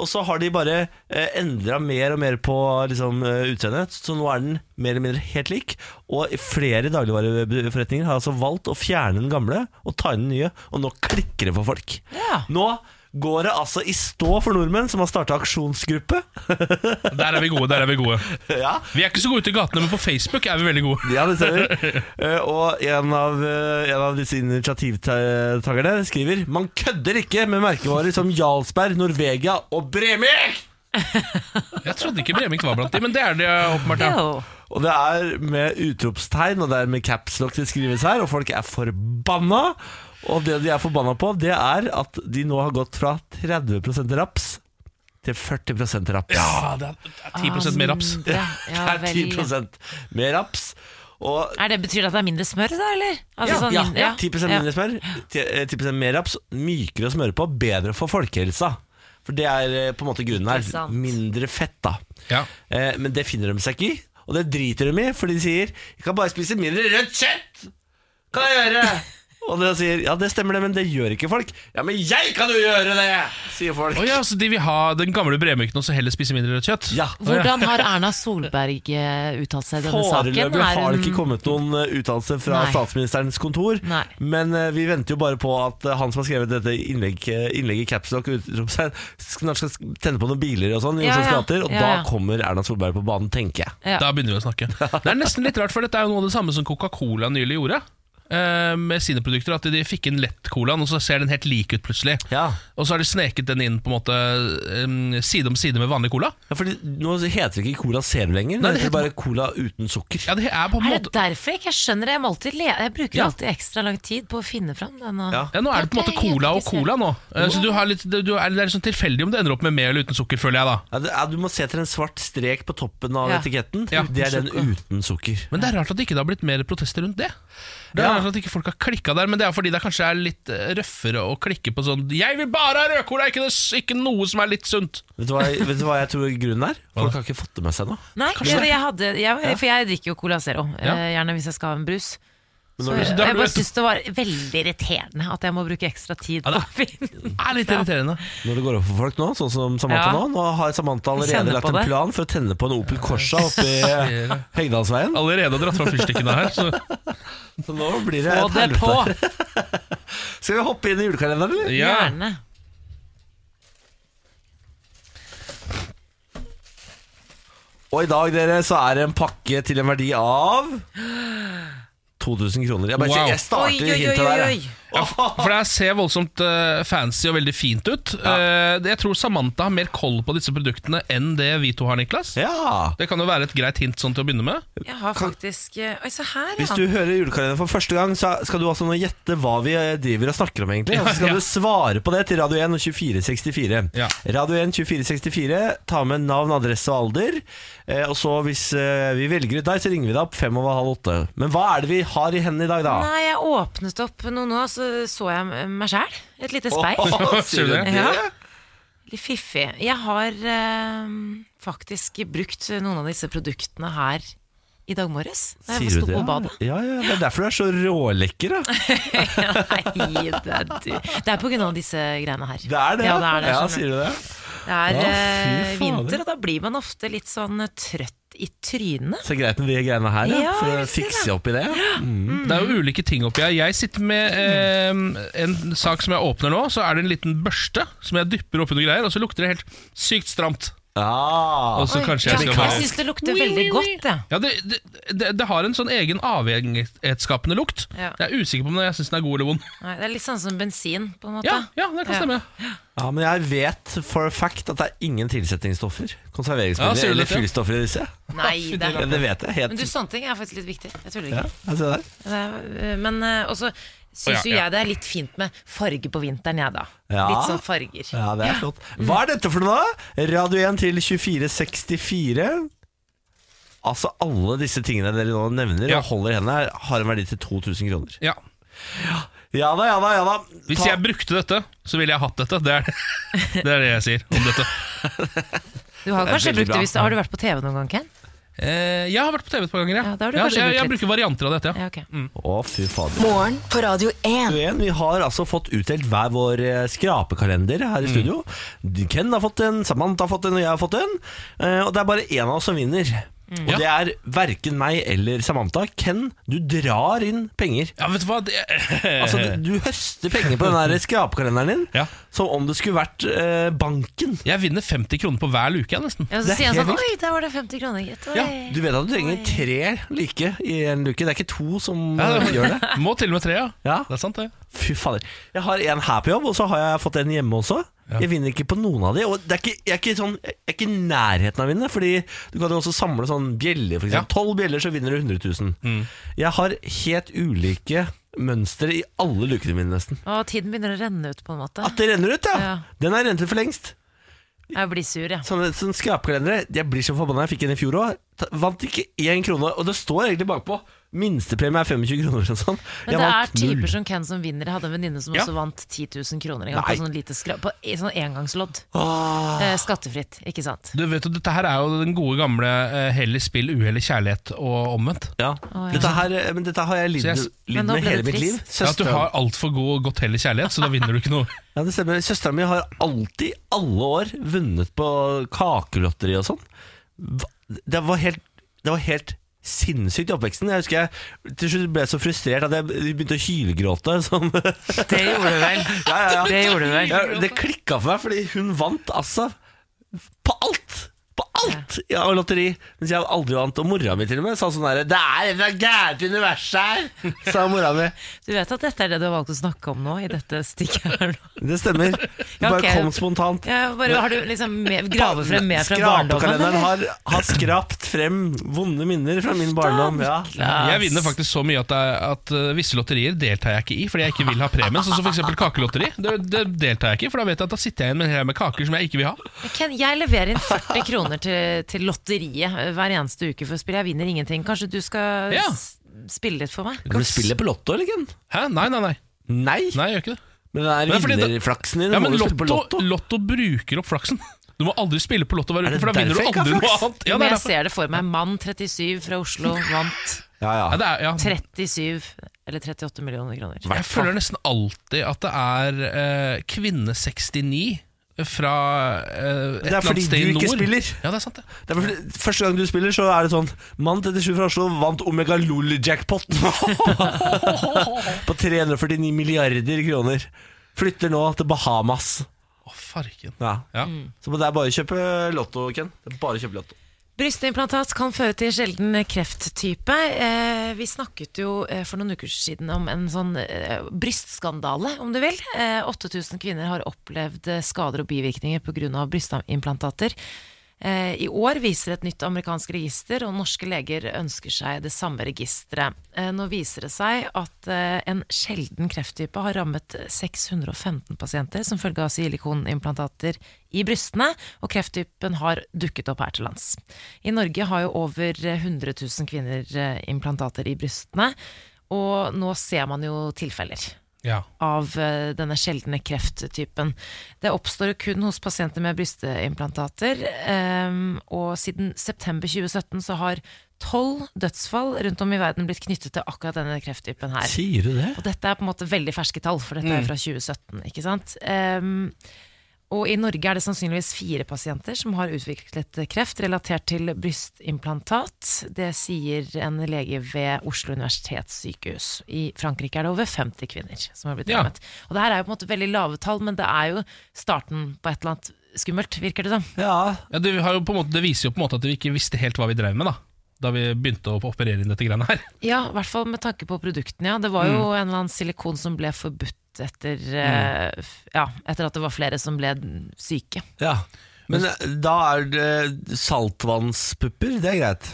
Speaker 1: Og så har de bare uh, endra mer og mer på liksom, eh, utseendet, så nå er den mer eller mindre helt lik. Og flere dagligvareforretninger har altså valgt å fjerne den gamle og ta inn den nye, og nå klikker det for folk.
Speaker 3: Ja.
Speaker 1: Nå går det altså i stå for nordmenn som har starta aksjonsgruppe.
Speaker 4: Der er vi gode. der er Vi gode
Speaker 1: ja,
Speaker 4: Vi er ikke så gode ute i gatene, men på Facebook er vi veldig gode.
Speaker 1: Ja, det stemmer. Eh, Og en av, eh, en av disse initiativtakerne skriver Man kødder ikke med merkevarer som Jarlsberg, Norvegia og Bremyk!
Speaker 4: Jeg trodde ikke Bremykt var blant de, men det er det eh, åpenbart. Ja.
Speaker 3: Jo.
Speaker 1: Og det er med utropstegn, og det er med capslock det skrives her, og folk er forbanna. Og det de er forbanna på, det er at de nå har gått fra 30 raps til 40 raps.
Speaker 4: Ja, det er 10 mer raps.
Speaker 3: Ah, det- Ja,
Speaker 1: det er
Speaker 3: vel.
Speaker 1: 10 mer raps. Og
Speaker 3: Er det, betyr det at det er mindre smør, da, eller? Altså,
Speaker 1: Ja,
Speaker 3: sånn
Speaker 1: ja,
Speaker 3: min-
Speaker 1: ja. 10 mindre smør, 10 eh, 10% mer raps, mykere å smøre på, bedre for folkehelsa. For det er eh, på en måte grunnen
Speaker 3: Ikke
Speaker 1: her.
Speaker 3: sant.
Speaker 1: Mindre fett, da.
Speaker 4: Ja.
Speaker 1: Eh, men det finner de seg ikke i, og det driter de i, for de sier 'Jeg kan bare spise mindre rødt kjøtt'! Kan jeg gjøre? Og de sier 'Ja, det stemmer det, men det gjør ikke folk'. 'Ja, men jeg kan jo gjøre det', sier folk.
Speaker 4: Å ja, så de vil ha den gamle bremykten og så heller spise mindre rødt kjøtt?
Speaker 1: Ja.
Speaker 3: Hvordan har Erna Solberg eh, uttalt seg i denne saken?
Speaker 1: Foreløpig
Speaker 3: Er
Speaker 1: har det
Speaker 3: hun-
Speaker 1: ikke kommet noen eh, uttalelse fra
Speaker 3: Nei.
Speaker 1: statsministerens kontor.
Speaker 3: Nei.
Speaker 1: Men eh, vi venter jo bare på at eh, han som har skrevet dette innlegg- eh, innlegget i Capstock, snart skal sk- tenne på noen biler og sånn, i
Speaker 3: Ja,
Speaker 1: Oslos
Speaker 3: ja.
Speaker 1: gater, og
Speaker 3: Ja,
Speaker 1: da
Speaker 3: ja.
Speaker 1: kommer Erna Solberg på banen, tenker jeg.
Speaker 3: Ja.
Speaker 4: Da begynner vi å snakke. Det er nesten litt rart, for dette er jo noe av det samme som Coca-Cola nylig gjorde. eh, Med sine produkter At de fikk inn lett-colaen, og så ser den helt lik ut plutselig.
Speaker 1: Ja.
Speaker 4: Og så har de sneket den inn på en måte eh, side om side med vanlig cola.
Speaker 1: fordi Nå heter det ikke Cola Zero lenger,
Speaker 4: Nei,
Speaker 1: nå
Speaker 4: det
Speaker 1: heter det bare Cola uten sukker.
Speaker 4: Ja, det er på en
Speaker 3: Er
Speaker 4: måte
Speaker 3: det derfor jeg ikke skjønner det? Jeg, må alltid le jeg bruker
Speaker 4: Ja.
Speaker 3: alltid ekstra lang tid på å finne fram den. Og...
Speaker 1: Ja.
Speaker 4: ja, Nå er det på en måte cola og cola nå. Eh, Så du har litt, du er, Det er litt sånn tilfeldig om det ender opp med med eller uten sukker, føler jeg da.
Speaker 1: Ja, det, ja, du må se etter en svart strek på toppen av
Speaker 3: Ja.
Speaker 1: etiketten.
Speaker 4: Ja,
Speaker 1: det er den uten sukker.
Speaker 4: Men det er rart at det ikke har blitt mer protester rundt det. Det er
Speaker 1: Ja.
Speaker 4: rart at ikke folk har klikka der, men det er fordi det kanskje er litt eh, røffere å klikke på sånn 'Jeg vil bare ha rødcola, ikke, det- ikke noe som er litt sunt'.
Speaker 1: Vet du, hva, jeg- vet du hva jeg tror grunnen er? Folk har ikke fått det med seg nå.
Speaker 3: Nei,
Speaker 4: Kanskje
Speaker 3: jeg, jeg hadde, jeg, for jeg drikker jo Cola Zero, eh, gjerne hvis jeg skal ha en brus. Så
Speaker 4: du-
Speaker 3: jeg,
Speaker 4: da
Speaker 3: jeg
Speaker 4: har du
Speaker 3: bare
Speaker 4: et-
Speaker 3: syns det var veldig irriterende at jeg må bruke ekstra tid
Speaker 4: Ja,
Speaker 3: på
Speaker 4: det-
Speaker 3: å finne
Speaker 4: Det er litt irriterende.
Speaker 1: Når det går opp for folk nå, sånn som Samantha
Speaker 3: Ja.
Speaker 1: nå Nå har Samantha allerede
Speaker 3: Kjenner
Speaker 1: lagt
Speaker 3: på
Speaker 1: en
Speaker 3: det.
Speaker 1: plan for å tenne på en Opel Corsa oppe i eh, Hegdalsveien.
Speaker 4: Allerede dratt fra fyrstikkene her. Så.
Speaker 1: Så nå blir det
Speaker 3: få
Speaker 1: et
Speaker 3: det på!
Speaker 1: helvete. Skal vi hoppe inn i julekalenderen, eller?
Speaker 4: Ja.
Speaker 3: Gjerne.
Speaker 1: Og i dag, dere, så er det en pakke til en verdi av 2000 kroner. Jeg bare
Speaker 4: Wow.
Speaker 1: sier, jeg
Speaker 3: Oi,
Speaker 1: starter
Speaker 3: oi, oi,
Speaker 1: hintet
Speaker 3: oi,
Speaker 1: der.
Speaker 3: oi.
Speaker 1: jeg.
Speaker 4: For det her ser voldsomt eh, fancy og veldig fint ut. Eh, jeg tror Samantha har mer koll på disse produktene enn det vi to har, Niklas.
Speaker 1: Ja.
Speaker 4: Det kan jo være et greit hint sånn til å begynne med.
Speaker 3: Jeg har faktisk eh, Oi, se her,
Speaker 1: Hvis
Speaker 3: ja.
Speaker 1: du hører julekalenderen for første gang, så skal du altså nå gjette hva vi eh, driver og snakker om, egentlig. Og så skal
Speaker 4: Ja, ja.
Speaker 1: du svare på det til Radio 1 og 2464.
Speaker 4: Ja.
Speaker 1: Radio 1 2464, ta med navn, adresse og alder. Eh, og så hvis eh, vi velger ut deg, så ringer vi deg opp fem over halv åtte. Men hva er det vi har i hendene i dag, da?
Speaker 3: Nei, jeg åpnet opp noe nå, så så jeg meg sjæl. Et lite speil.
Speaker 1: Åh,
Speaker 4: Sier du det?
Speaker 3: Ja. Litt fiffig. Jeg har eh, faktisk brukt noen av disse produktene her i dag morges da jeg
Speaker 1: Sier du
Speaker 3: sto
Speaker 1: det?
Speaker 3: på badet.
Speaker 1: Ja, ja, ja, Det er derfor du er så rålekker, da.
Speaker 3: Nei, det er, du. det er på grunn av disse greiene her.
Speaker 1: Det er det.
Speaker 3: Ja, det er
Speaker 1: ja,
Speaker 3: det, skjønner du.
Speaker 1: sier du det?
Speaker 3: Det er
Speaker 1: Ja, fy fader.
Speaker 3: eh, vinter, og da blir man ofte litt sånn eh, trøtt i trynet.
Speaker 1: Så greit med de greiene her, ja.
Speaker 3: Ja,
Speaker 1: for å
Speaker 3: jeg visste
Speaker 1: fikse
Speaker 3: det.
Speaker 1: opp i det.
Speaker 3: Mm.
Speaker 4: Det er jo ulike ting oppi her. Jeg sitter med eh, en sak som jeg åpner nå. Så er det en liten børste som jeg dypper oppi noe greier, og så lukter det helt sykt stramt.
Speaker 1: Ja.
Speaker 4: Og så kanskje jeg
Speaker 3: ja,
Speaker 4: skal bare
Speaker 3: jeg syns det lukter veldig godt, jeg.
Speaker 4: Ja, det, det, det, det har en sånn egen avhengighetsskapende lukt.
Speaker 3: Ja.
Speaker 4: Jeg er usikker på om jeg syns den er god eller vond.
Speaker 3: Nei, Det er litt sånn som bensin, på en måte.
Speaker 4: Ja, ja, det kan
Speaker 3: Ja.
Speaker 4: stemme.
Speaker 1: ja, Men jeg vet for a fact at det er ingen tilsetningsstoffer.
Speaker 4: Ja,
Speaker 1: Konserveringsmidler
Speaker 4: sier du
Speaker 1: eller
Speaker 4: dette?
Speaker 1: fyllstoffer i disse.
Speaker 3: Nei, det
Speaker 1: Ja,
Speaker 3: er
Speaker 1: det vet jeg.
Speaker 3: Men
Speaker 1: Helt.
Speaker 3: du, sånne ting er faktisk litt viktig. Jeg tuller
Speaker 1: ja,
Speaker 3: ikke.
Speaker 1: jeg ser der.
Speaker 3: Det er- Men eh, også
Speaker 4: Å,
Speaker 3: syns
Speaker 4: ja,
Speaker 3: jo
Speaker 4: ja.
Speaker 3: jeg det er litt fint med farge på vinteren, jeg, da.
Speaker 1: Ja.
Speaker 3: Litt sånn farger.
Speaker 1: Ja, det er flott. Hva er dette for noe, da? Radio 1 til 2464. Altså, alle disse tingene dere nå nevner
Speaker 4: Ja.
Speaker 1: og holder i hendene, her, har en verdi til 2000 kroner.
Speaker 4: Ja.
Speaker 1: Ja da, ja da, ja da.
Speaker 4: Hvis
Speaker 1: Ta-
Speaker 4: jeg brukte dette, så ville jeg hatt dette. Det er det, det, er det jeg sier om dette.
Speaker 3: Du har
Speaker 1: Det er
Speaker 3: kanskje
Speaker 1: veldig
Speaker 3: brukt
Speaker 1: bra.
Speaker 3: det hvis Har du vært på TV noen gang, Ken?
Speaker 4: Eh, jeg har vært på TV et par ganger.
Speaker 3: Ja, da har du kanskje
Speaker 4: jeg, jeg,
Speaker 3: brukt litt.
Speaker 4: bruker varianter av dette. Ja.
Speaker 3: Ja, ok.
Speaker 1: Å, fy fader.
Speaker 5: Morgen på Radio 1.
Speaker 1: igjen. Vi har altså fått utdelt hver vår eh, skrapekalender her i studio. Ken har fått en, Samantha har fått en, og jeg har fått en. Eh, Og det er bare én av oss som vinner. Og
Speaker 4: Ja.
Speaker 1: det er verken meg eller Samantha. Ken, du drar inn penger.
Speaker 4: Ja, vet du hva det,
Speaker 1: Altså, du, du høster penger på den der skrapekalenderen din
Speaker 4: Ja.
Speaker 1: som om det skulle vært eh, banken.
Speaker 4: Jeg vinner 50 kroner på hver luke, jeg, nesten.
Speaker 3: Ja, og
Speaker 1: Det er
Speaker 3: så sier han
Speaker 1: helt
Speaker 3: sånn Oi, der var det 50 kroner, gitt. Oi.
Speaker 1: Ja, du vet at du trenger tre like i en luke. Det er ikke to som
Speaker 4: Ja,
Speaker 1: eh, gjør det.
Speaker 4: Må til og med tre, ja.
Speaker 1: Ja.
Speaker 4: Det er sant, det.
Speaker 1: Fy fader. Jeg har en her på jobb, og så har jeg fått en hjemme også. Jeg vinner ikke på noen av de. Og det er ikke, jeg, er ikke sånn, jeg er ikke i nærheten av å vinne, Fordi du kan jo også samle sånn bjeller, f.eks.
Speaker 4: Ja.
Speaker 1: eksempel Tolv bjeller, så vinner du 100 000. Jeg har helt ulike mønstre i alle lukene mine, nesten.
Speaker 3: Og tiden begynner å renne ut, på en måte.
Speaker 1: At det renner ut, ja!
Speaker 3: Ja.
Speaker 1: Den er rent ut for lengst.
Speaker 3: Jeg blir sur, jeg.
Speaker 1: Sånne, sånne skrapkalendere. Jeg blir så forbanna. Jeg fikk en i fjor òg. Vant ikke én krone. Og det står egentlig bakpå. Minstepremie er 25 kroner eller noe sånt. Jeg
Speaker 3: Men det er
Speaker 1: vant null.
Speaker 3: typer som Ken som vinner. Jeg hadde en venninne som
Speaker 4: Ja.
Speaker 3: også vant 10 000 kroner en gang
Speaker 1: Nei. Ah.
Speaker 3: på sånn lite skra På i- sånn engangslodd.
Speaker 1: Åh.
Speaker 3: Eh, skattefritt, ikke sant.
Speaker 4: Du vet jo, Dette her er jo den gode gamle eh, hell i spill, uhell i kjærlighet og omvendt.
Speaker 1: Ja.
Speaker 3: ja.
Speaker 1: Dette, her, eh, men dette har jeg lidd
Speaker 4: Så jeg-
Speaker 1: lidd
Speaker 3: Men nå
Speaker 1: med
Speaker 3: ble
Speaker 1: hele
Speaker 3: det
Speaker 1: mitt liv.
Speaker 3: trist.
Speaker 4: Ja, at du
Speaker 1: Søsteren,
Speaker 4: har altfor god, godt hell i kjærlighet, så da vinner du ikke noe.
Speaker 1: ja, det stemmer. Søsteren min har alltid, alle år, vunnet på kakelotteri og sånn. Hva- Det var helt, det var helt sinnssykt i oppveksten. Jeg husker jeg til slutt ble jeg så frustrert at jeg begynte å hylgråte. Som, ja,
Speaker 3: Det gjorde du vel.
Speaker 1: ja, ja.
Speaker 3: Det gjorde du vel.
Speaker 1: Ja, det klikka for meg, fordi hun vant altså på alt. På alt i ja. lotteri! Mens jeg aldri vant. Og mora mi til og med sa sånn herre Det er et eller annet gærent i universet her! Sa mora mi.
Speaker 3: Du vet at dette er det du har valgt å snakke om nå, i dette stikket her nå.
Speaker 1: Det stemmer. Det bare
Speaker 3: ok.
Speaker 1: kom spontant.
Speaker 3: Ja, bare, har du liksom mer- gravet frem mer fra barndommen?
Speaker 1: Skrapekalenderen
Speaker 3: eller?
Speaker 1: har, har skrapt frem vonde minner fra min barndom. Ja.
Speaker 4: Jeg vinner faktisk så mye at, jeg, at eh, visse lotterier deltar jeg ikke i fordi jeg ikke vil ha premien. Sånn som f.eks. kakelotteri. Det, det deltar jeg ikke i, for da vet jeg at da sitter jeg igjen med en hel haug med kaker som jeg ikke vil ha.
Speaker 3: Ken, jeg leverer inn 40 kroner til, til lotteriet eh, hver eneste uke for å spille. Jeg vinner ingenting. Kanskje du skal
Speaker 4: Ja.
Speaker 3: s- spille litt for meg?
Speaker 1: Kan du spille på Lotto, eller Ken?
Speaker 4: Hæ? Nei, nei, nei.
Speaker 1: Nei.
Speaker 4: Nei, jeg gjør ikke det.
Speaker 1: Men den
Speaker 4: Nei,
Speaker 1: er
Speaker 4: fordi da-
Speaker 1: vinnerflaksen din.
Speaker 4: Ja,
Speaker 1: du
Speaker 4: men
Speaker 1: må jo spille
Speaker 4: lotto,
Speaker 1: på Lotto.
Speaker 4: lotto bruker opp flaksen. Du må aldri spille på lotto hver
Speaker 1: Er
Speaker 4: uke,
Speaker 1: det
Speaker 4: for da vinner du
Speaker 1: derfor jeg ikke
Speaker 4: aldri
Speaker 1: har
Speaker 4: noe
Speaker 1: flaks?
Speaker 4: annet. Ja,
Speaker 3: Men
Speaker 4: det er
Speaker 3: jeg
Speaker 4: derfor.
Speaker 3: ser det for meg. Mann 37 fra Oslo vant
Speaker 1: Ja,
Speaker 4: Ja,
Speaker 1: ja.
Speaker 4: det er, ja.
Speaker 3: 37 eller 38 millioner kroner.
Speaker 4: Jeg føler nesten alltid at det er eh, kvinne 69 fra eh, et
Speaker 1: Det er
Speaker 4: eller annet
Speaker 1: fordi
Speaker 4: sted i
Speaker 1: du
Speaker 4: nord.
Speaker 1: ikke spiller.
Speaker 4: Ja, det er sant det.
Speaker 1: Det er fordi- første gang du spiller, så er det sånn Mann 37 fra Oslo vant Omega Lol-jackpot på 349 milliarder kroner. Flytter nå til Bahamas.
Speaker 4: Å, farken.
Speaker 1: Ja.
Speaker 4: Ja.
Speaker 1: Så det er bare å kjøpe Lotto, Ken. Det er bare å kjøpe Lotto.
Speaker 3: Brystimplantat kan føre til sjelden krefttype. Eh, vi snakket jo eh, for noen uker siden om en sånn eh, brystskandale, om du vil. Eh, 8000 kvinner har opplevd eh, skader og bivirkninger pga. brystimplantater. Eh, I år viser et nytt amerikansk register, og norske leger ønsker seg det samme registeret. Eh, nå viser det seg at eh, en sjelden krefttype har rammet 615 pasienter som følge av silikonimplantater i brystene, og krefttypen har dukket opp her til lands. I Norge har jo over 100 000 kvinner eh, implantater i brystene, og nå ser man jo tilfeller
Speaker 4: Ja.
Speaker 3: av eh, denne sjeldne krefttypen. Det oppstår jo kun hos ehm, pasienter med brystimplantater, eh, og siden september 2017 så har tolv dødsfall rundt om i verden blitt knyttet til akkurat denne krefttypen her.
Speaker 1: Sier du det?
Speaker 3: Og dette er på en måte veldig ferske tall, for dette er fra 2017. ikke sant? Ehm, og I Norge er det sannsynligvis fire pasienter som har utviklet kreft relatert til brystimplantat. Det sier en lege ved Oslo universitetssykehus. I Frankrike er det over 50 kvinner som har blitt
Speaker 4: Ja.
Speaker 3: rammet. Og det her er jo på en måte veldig lave tall, men det er jo starten på et eller annet skummelt, virker det som.
Speaker 1: Ja,
Speaker 4: Ja, det, har jo på en måte, det viser jo på en måte at vi ikke visste helt hva vi drev med da Da vi begynte å operere inn dette greiene her
Speaker 3: Ja, i hvert fall med tanke på produktene. Ja. Det var jo en eller annen silikon som ble forbudt etter, eh, f- ja, etter at det var flere som ble syke.
Speaker 1: ja. Men eh, da er det saltvannspupper, det er greit.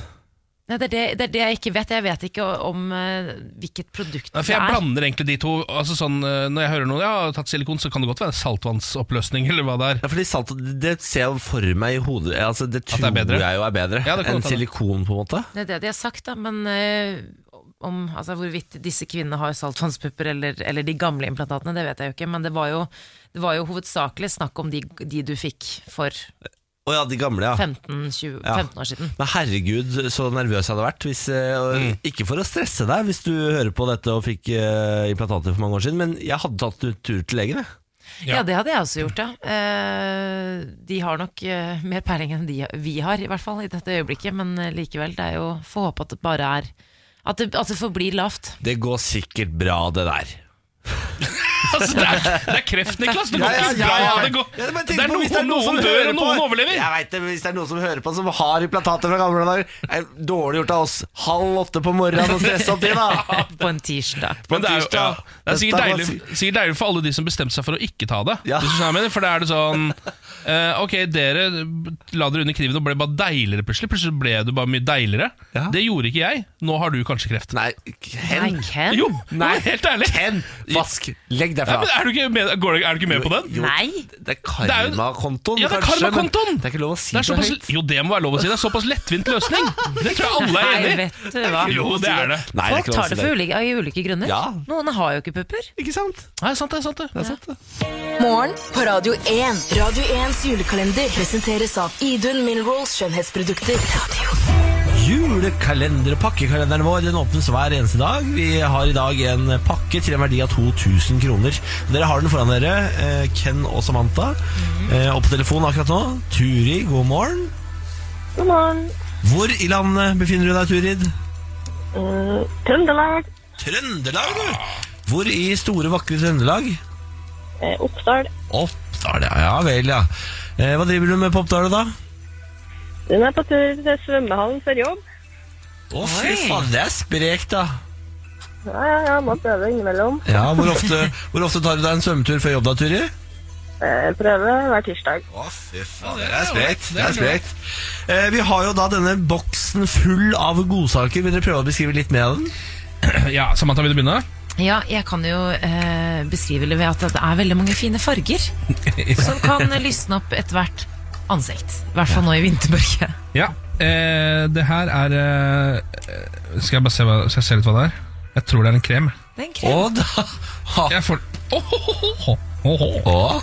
Speaker 3: Nei, det, er det, det er det jeg ikke vet. Jeg vet ikke om eh, hvilket produkt
Speaker 4: Ja, For
Speaker 3: det
Speaker 4: jeg
Speaker 3: er.
Speaker 4: blander egentlig de to altså sånn, eh, Når jeg hører noen ja, har tatt silikon Så kan det godt være saltvannsoppløsning Eller hva det er
Speaker 1: Ja, fordi salt, Det ser jeg for meg i hodet altså, Det
Speaker 4: det er
Speaker 1: tror
Speaker 4: bedre.
Speaker 1: jeg jo er bedre
Speaker 4: Ja, det kan
Speaker 1: enn
Speaker 4: godt hende.
Speaker 1: silikon, på en måte.
Speaker 3: Det er det de har sagt, da. Men eh, om altså, hvorvidt disse kvinnene har saltvannspupper eller, eller de gamle implantatene, det vet jeg jo ikke. Men det var jo, det var jo hovedsakelig snakk om de, de du fikk for
Speaker 1: Å ja, de gamle, ja.
Speaker 3: 15, 20,
Speaker 1: Ja.
Speaker 3: 15 år siden.
Speaker 1: Men herregud, så nervøs jeg hadde vært. Hvis, eh, og Ikke for å stresse deg hvis du hører på dette og fikk eh, implantater for mange år siden, men jeg hadde tatt en tur til legen. jeg.
Speaker 4: Ja.
Speaker 3: Ja. det hadde jeg også gjort, ja. Eh, de har nok eh, mer peiling enn de, vi har, i hvert fall i dette øyeblikket. Men eh, likevel, det er jo Få håpe at det bare er At det, at det forblir lavt.
Speaker 1: Det går sikkert bra, det der.
Speaker 4: altså, det, er, det er kreft, Niklas Det går ikke bra det, går,
Speaker 1: Ja, men jeg
Speaker 4: det
Speaker 1: tenker
Speaker 4: er
Speaker 1: på hvis
Speaker 4: noen, noen dør
Speaker 1: hører
Speaker 4: og
Speaker 1: på-
Speaker 4: noen overlever
Speaker 1: Jeg vet det, men Hvis det er noen som hører på som har implantater fra gamle dager, er det dårlig gjort av oss halv åtte på morgenen å stresse opp de, da.
Speaker 3: På en tirsdag.
Speaker 1: På
Speaker 4: Men det er, jo- ja,
Speaker 1: tirsdag.
Speaker 4: det er sikkert,
Speaker 1: Dette var
Speaker 4: deilig,
Speaker 1: si-
Speaker 4: sikkert deilig for alle de som bestemte seg for å ikke ta det.
Speaker 1: Ja.
Speaker 4: Hvis du skjønner hva jeg mener, for da er det sånn eh, Ok, dere la dere under kniven og ble bare deiligere plutselig. Plutselig ble du bare mye deiligere.
Speaker 1: Ja.
Speaker 4: Det gjorde ikke jeg. Nå har du kanskje kreft.
Speaker 1: Nei,
Speaker 3: Nei,
Speaker 1: hen.
Speaker 3: Ken?
Speaker 4: Jo,
Speaker 1: Nei.
Speaker 4: jo, helt ærlig.
Speaker 1: Hen, vask, legg deg
Speaker 4: Ja,
Speaker 1: fra.
Speaker 4: men er, du ikke med, går du, er du ikke med på den?
Speaker 1: Jo,
Speaker 3: Nei.
Speaker 1: Det er
Speaker 4: er jo-
Speaker 1: karmakontoen,
Speaker 4: Ja, det er
Speaker 1: kanskje, men
Speaker 4: karmakontoen!
Speaker 1: Det er ikke lov å si
Speaker 4: Det er
Speaker 1: det,
Speaker 4: såpass,
Speaker 1: høyt.
Speaker 4: jo, det må være lov å si. Det er såpass lettvint løsning. Det tror jeg alle er
Speaker 3: Nei,
Speaker 4: enig i.
Speaker 3: vet du hva.
Speaker 4: Jo, det er det.
Speaker 1: Nei,
Speaker 3: Folk
Speaker 1: ikke lov å
Speaker 3: tar
Speaker 1: si
Speaker 3: det for ulike, av ulike grunner.
Speaker 1: Ja.
Speaker 3: Noen har jo ikke pupper.
Speaker 1: Ikke sant?
Speaker 4: Nei, sant det, sant det.
Speaker 1: sant det.
Speaker 5: Morgen på Radio 1. Radio 1s julekalender presenteres av Idun Minerals skjønnhetsprodukter. Radio.
Speaker 1: Julekalender, pakkekalenderen vår, den åpnes hver eneste dag. Vi har i dag en pakke til en verdi av 2000 kroner. Dere har den foran dere, eh, Ken og Samantha. Eh, Og på telefon akkurat nå, Turi, god morgen.
Speaker 2: God morgen.
Speaker 1: Hvor i landet befinner du deg, Turid?
Speaker 2: Eh, Trøndelag.
Speaker 1: Trøndelag, du! Hvor i store, vakre Trøndelag?
Speaker 2: eh, Oppdal.
Speaker 1: Oppdal, ja. Ja vel, ja. Eh, Hva driver du med på Oppdal, da?
Speaker 2: Hun er på tur til svømmehallen før jobb.
Speaker 1: Å, fy
Speaker 3: Oi.
Speaker 1: faen, det er sprekt, da.
Speaker 2: Ja, ja, ja, må prøve innimellom.
Speaker 1: Ja, hvor ofte, hvor ofte tar du deg en svømmetur før jobb, da, Turi?
Speaker 2: Eh, prøve hver tirsdag.
Speaker 1: Å, fy faen, det er sprekt. Det er sprekt. Eh, vi har jo da denne boksen full av godsaker. Vil dere prøve å beskrive litt mer av den?
Speaker 4: Ja, Samantha, vil du begynne?
Speaker 3: Ja, jeg kan jo eh, beskrive det ved at det er veldig mange fine farger som kan lysne opp ethvert ansikt. I hvert fall nå i vintermørket.
Speaker 4: Ja, eh, det her er eh, Skal jeg bare se, hva, skal jeg se litt hva det er? Jeg tror det er en krem.
Speaker 3: Det er en
Speaker 1: Å
Speaker 3: krem.
Speaker 1: da! Ha.
Speaker 4: Jeg får Åhåhåhå.
Speaker 1: Å.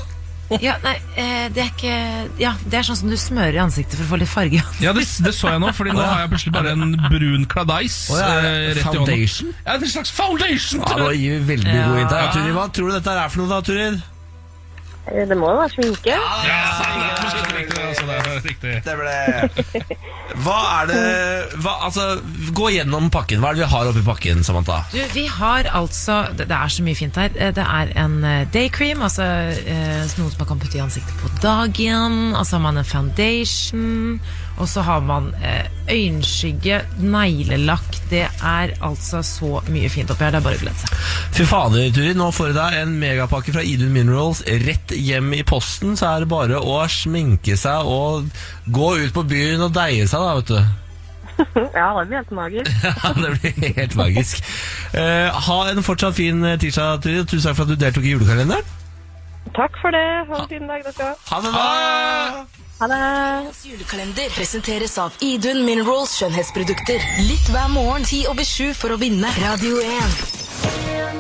Speaker 3: Ja, nei, eh, det er ikke Ja, det er sånn som du smører i ansiktet for å få litt farge.
Speaker 4: Ja, det, det så jeg nå, Fordi nå har jeg plutselig bare en brun kladeis.
Speaker 1: Å, ja,
Speaker 4: eh, rett i hånden.
Speaker 1: foundation?
Speaker 4: Ja, en slags foundation!
Speaker 1: Ja, nå gir vi veldig god
Speaker 3: Ja.
Speaker 1: inntak. Ja, Turid, hva tror du dette er for noe, da, Turid?
Speaker 2: Eh, det må jo være sminke.
Speaker 4: Ja, det er riktig, altså, det er riktig.
Speaker 1: Det ble Hva er det hva, Altså, gå gjennom pakken. Hva er det vi har oppi pakken, Samantha?
Speaker 3: Du, vi har altså Det, det er så mye fint her. Eh, Det er en eh, day cream, altså eh, noe som man kan putte i ansiktet på dagen. Og så har man en foundation. Og så har man eh, øyenskygge, neglelakk. Det er altså så mye fint oppi her. Det er bare å glede seg.
Speaker 1: Fy fader, Turid. Nå får du deg en megapakke fra Idun Minerals rett hjem i posten. Så er det bare å sminke seg og gå ut på byen og deie seg, da, vet du.
Speaker 2: Ja, det blir helt magisk.
Speaker 1: Ja, det blir helt magisk. Eh, ha en fortsatt fin eh, tirsdag, Turid. Tusen takk for at du deltok i julekalenderen.
Speaker 2: Takk for det. Ha en fin dag, dere.
Speaker 1: Ha det bra!
Speaker 2: Ha det.
Speaker 5: Julekalender presenteres av Idun Minerals skjønnhetsprodukter. Lytt hver morgen 10 over 7 for å vinne. Radio 1.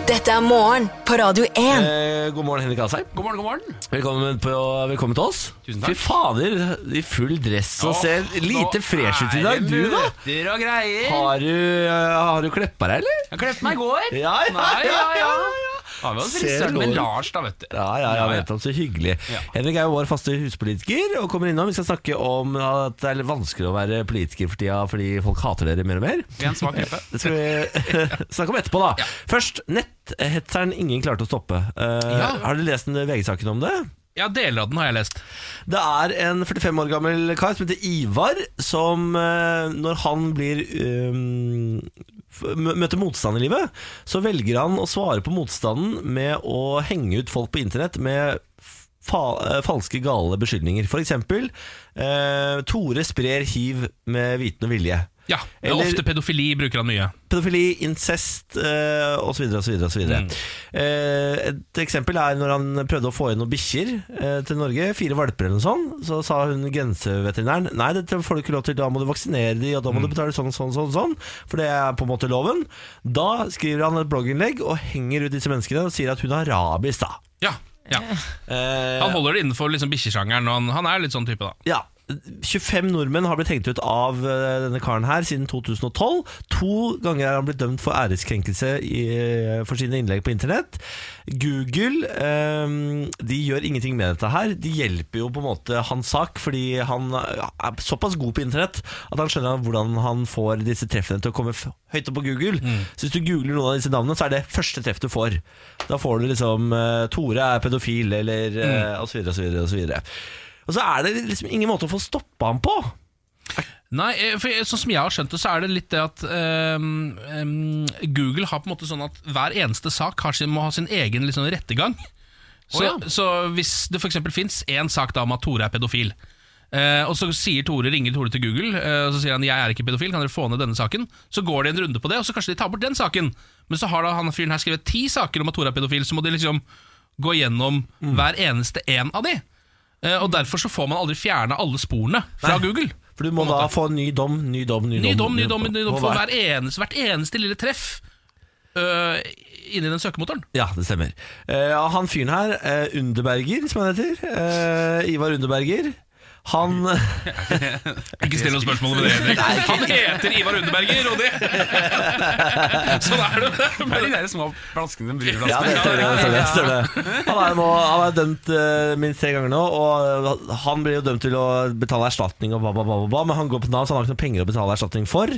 Speaker 5: Dette er morgen på Radio 1.
Speaker 1: Eh, god morgen, Henrik Asheim.
Speaker 6: God morgen, god morgen.
Speaker 1: Velkommen, på, velkommen til oss.
Speaker 6: Tusen takk.
Speaker 1: Fy fader, i full dress og
Speaker 6: Åh,
Speaker 1: ser lite
Speaker 6: nå
Speaker 1: fresh ut i dag.
Speaker 6: er det
Speaker 1: Du, da?
Speaker 6: Møter og greier.
Speaker 1: Har du, eh, har du kleppa deg, eller?
Speaker 6: Jeg klepte meg i går.
Speaker 1: Ja, ja,
Speaker 6: Nei, ja, ja.
Speaker 1: ja,
Speaker 6: Har vi oss
Speaker 1: Ser
Speaker 6: frisøren
Speaker 1: lår.
Speaker 6: med Lars, da, vet du.
Speaker 1: Ja, ja, ja, vet om, så hyggelig
Speaker 6: Ja.
Speaker 1: Henrik er jo vår faste huspolitiker Og kommer innom, vi skal snakke om at det er litt vanskelig å være politiker for tida Fordi folk hater dere mer og mer
Speaker 6: Vi er en svak gruppe.
Speaker 1: Det skal vi snakke om etterpå da Først, netthetseren ingen klarte å stoppe Eh,
Speaker 4: Ja.
Speaker 1: Har du lest den VG-saken om det?
Speaker 4: Ja, deler av den har jeg lest.
Speaker 1: Det er en 45 år gammel kar som heter Ivar, som eh, når han blir um, f- mø- møter motstand i livet, så velger han å svare på motstanden med å henge ut folk på internett med fa eh, falske, gale beskyldninger. For eksempel eh, Tore sprer hiv med viten og vilje.
Speaker 4: Ja,
Speaker 1: Eller-
Speaker 4: Ofte pedofili bruker han mye.
Speaker 1: Pedofili, incest eh, og så videre, og så videre, og så videre. Eh, Et eksempel er når han prøvde å få inn noen bikkjer eh, til Norge, fire valper eller noe sånt. Så sa hun grenseveterinæren nei, dette får du ikke lov til, da må du vaksinere de, og da må du betale sånn, sånn, sånn, sånn. For det er på en måte loven. Da skriver han et blogginnlegg og henger ut disse menneskene og sier at hun har rabies, da.
Speaker 4: Ja, ja.
Speaker 1: Eh,
Speaker 4: Han holder det innenfor liksom bikkjesjangeren, og han, han er litt sånn type, da.
Speaker 1: ja. 25 nordmenn har blitt hengt ut av eh, denne karen her siden 2012. To ganger er han blitt dømt for æreskrenkelse i, eh, for sine innlegg på internett. Google eh, de gjør ingenting med dette her. De hjelper jo på en måte hans sak, fordi han eh, er såpass god på internett at han skjønner hvordan han får disse treffene til å komme f- høyt opp på Google. Så hvis du googler noen av disse navnene, så er det første treff du får. Da får du liksom eh, Tore er pedofil, eller eh, og så videre, og så videre, og så videre. Og så er det liksom ingen måte å få stoppa ham på.
Speaker 4: Nei, eh, for jeg- Sånn som jeg har skjønt det, så er det litt det at ehm, ehm, Google har på en måte sånn at hver eneste sak har sin, må ha sin egen liksom, rettegang. Så,
Speaker 6: Å, ja.
Speaker 4: så hvis det f.eks. fins én sak da om at Tore er pedofil, eh, og så sier Tore, ringer Tore til Google eh, og så sier han 'jeg er ikke pedofil, kan dere få ned denne saken', så går de en runde på det, og så kanskje de tar bort den saken. Men så har da han fyren her skrevet ti saker om at Tore er pedofil, så må de liksom gå gjennom
Speaker 6: Mm.
Speaker 4: hver eneste en av de. Eh, og derfor så får man aldri fjerna alle sporene fra
Speaker 1: Nei.
Speaker 4: Google.
Speaker 1: For du må da få ny dom, ny dom, ny dom.
Speaker 4: Ny dom, ny dom, ny dom
Speaker 1: på
Speaker 4: for
Speaker 1: hver-
Speaker 4: hver eneste, hvert eneste lille treff øh, inni den søkemotoren.
Speaker 1: Ja, det stemmer. Eh, ja, han fyren her, eh, Underberger, som han heter. eh, Ivar Underberger. Han
Speaker 4: Ikke still noen spørsmål ved det, Henrik. Han heter Ivar Underberger, og det Sånn er det.
Speaker 6: Det er de der små flaskene som bryr
Speaker 1: Ja, det stemmer. det stemmer, det stemmer. Han er, nå, han er dømt eh, minst tre ganger nå, og han blir jo dømt til å betale erstatning og bla, bla, bla, bla, bla men han går på Nav, så han har ikke noe penger å betale erstatning for.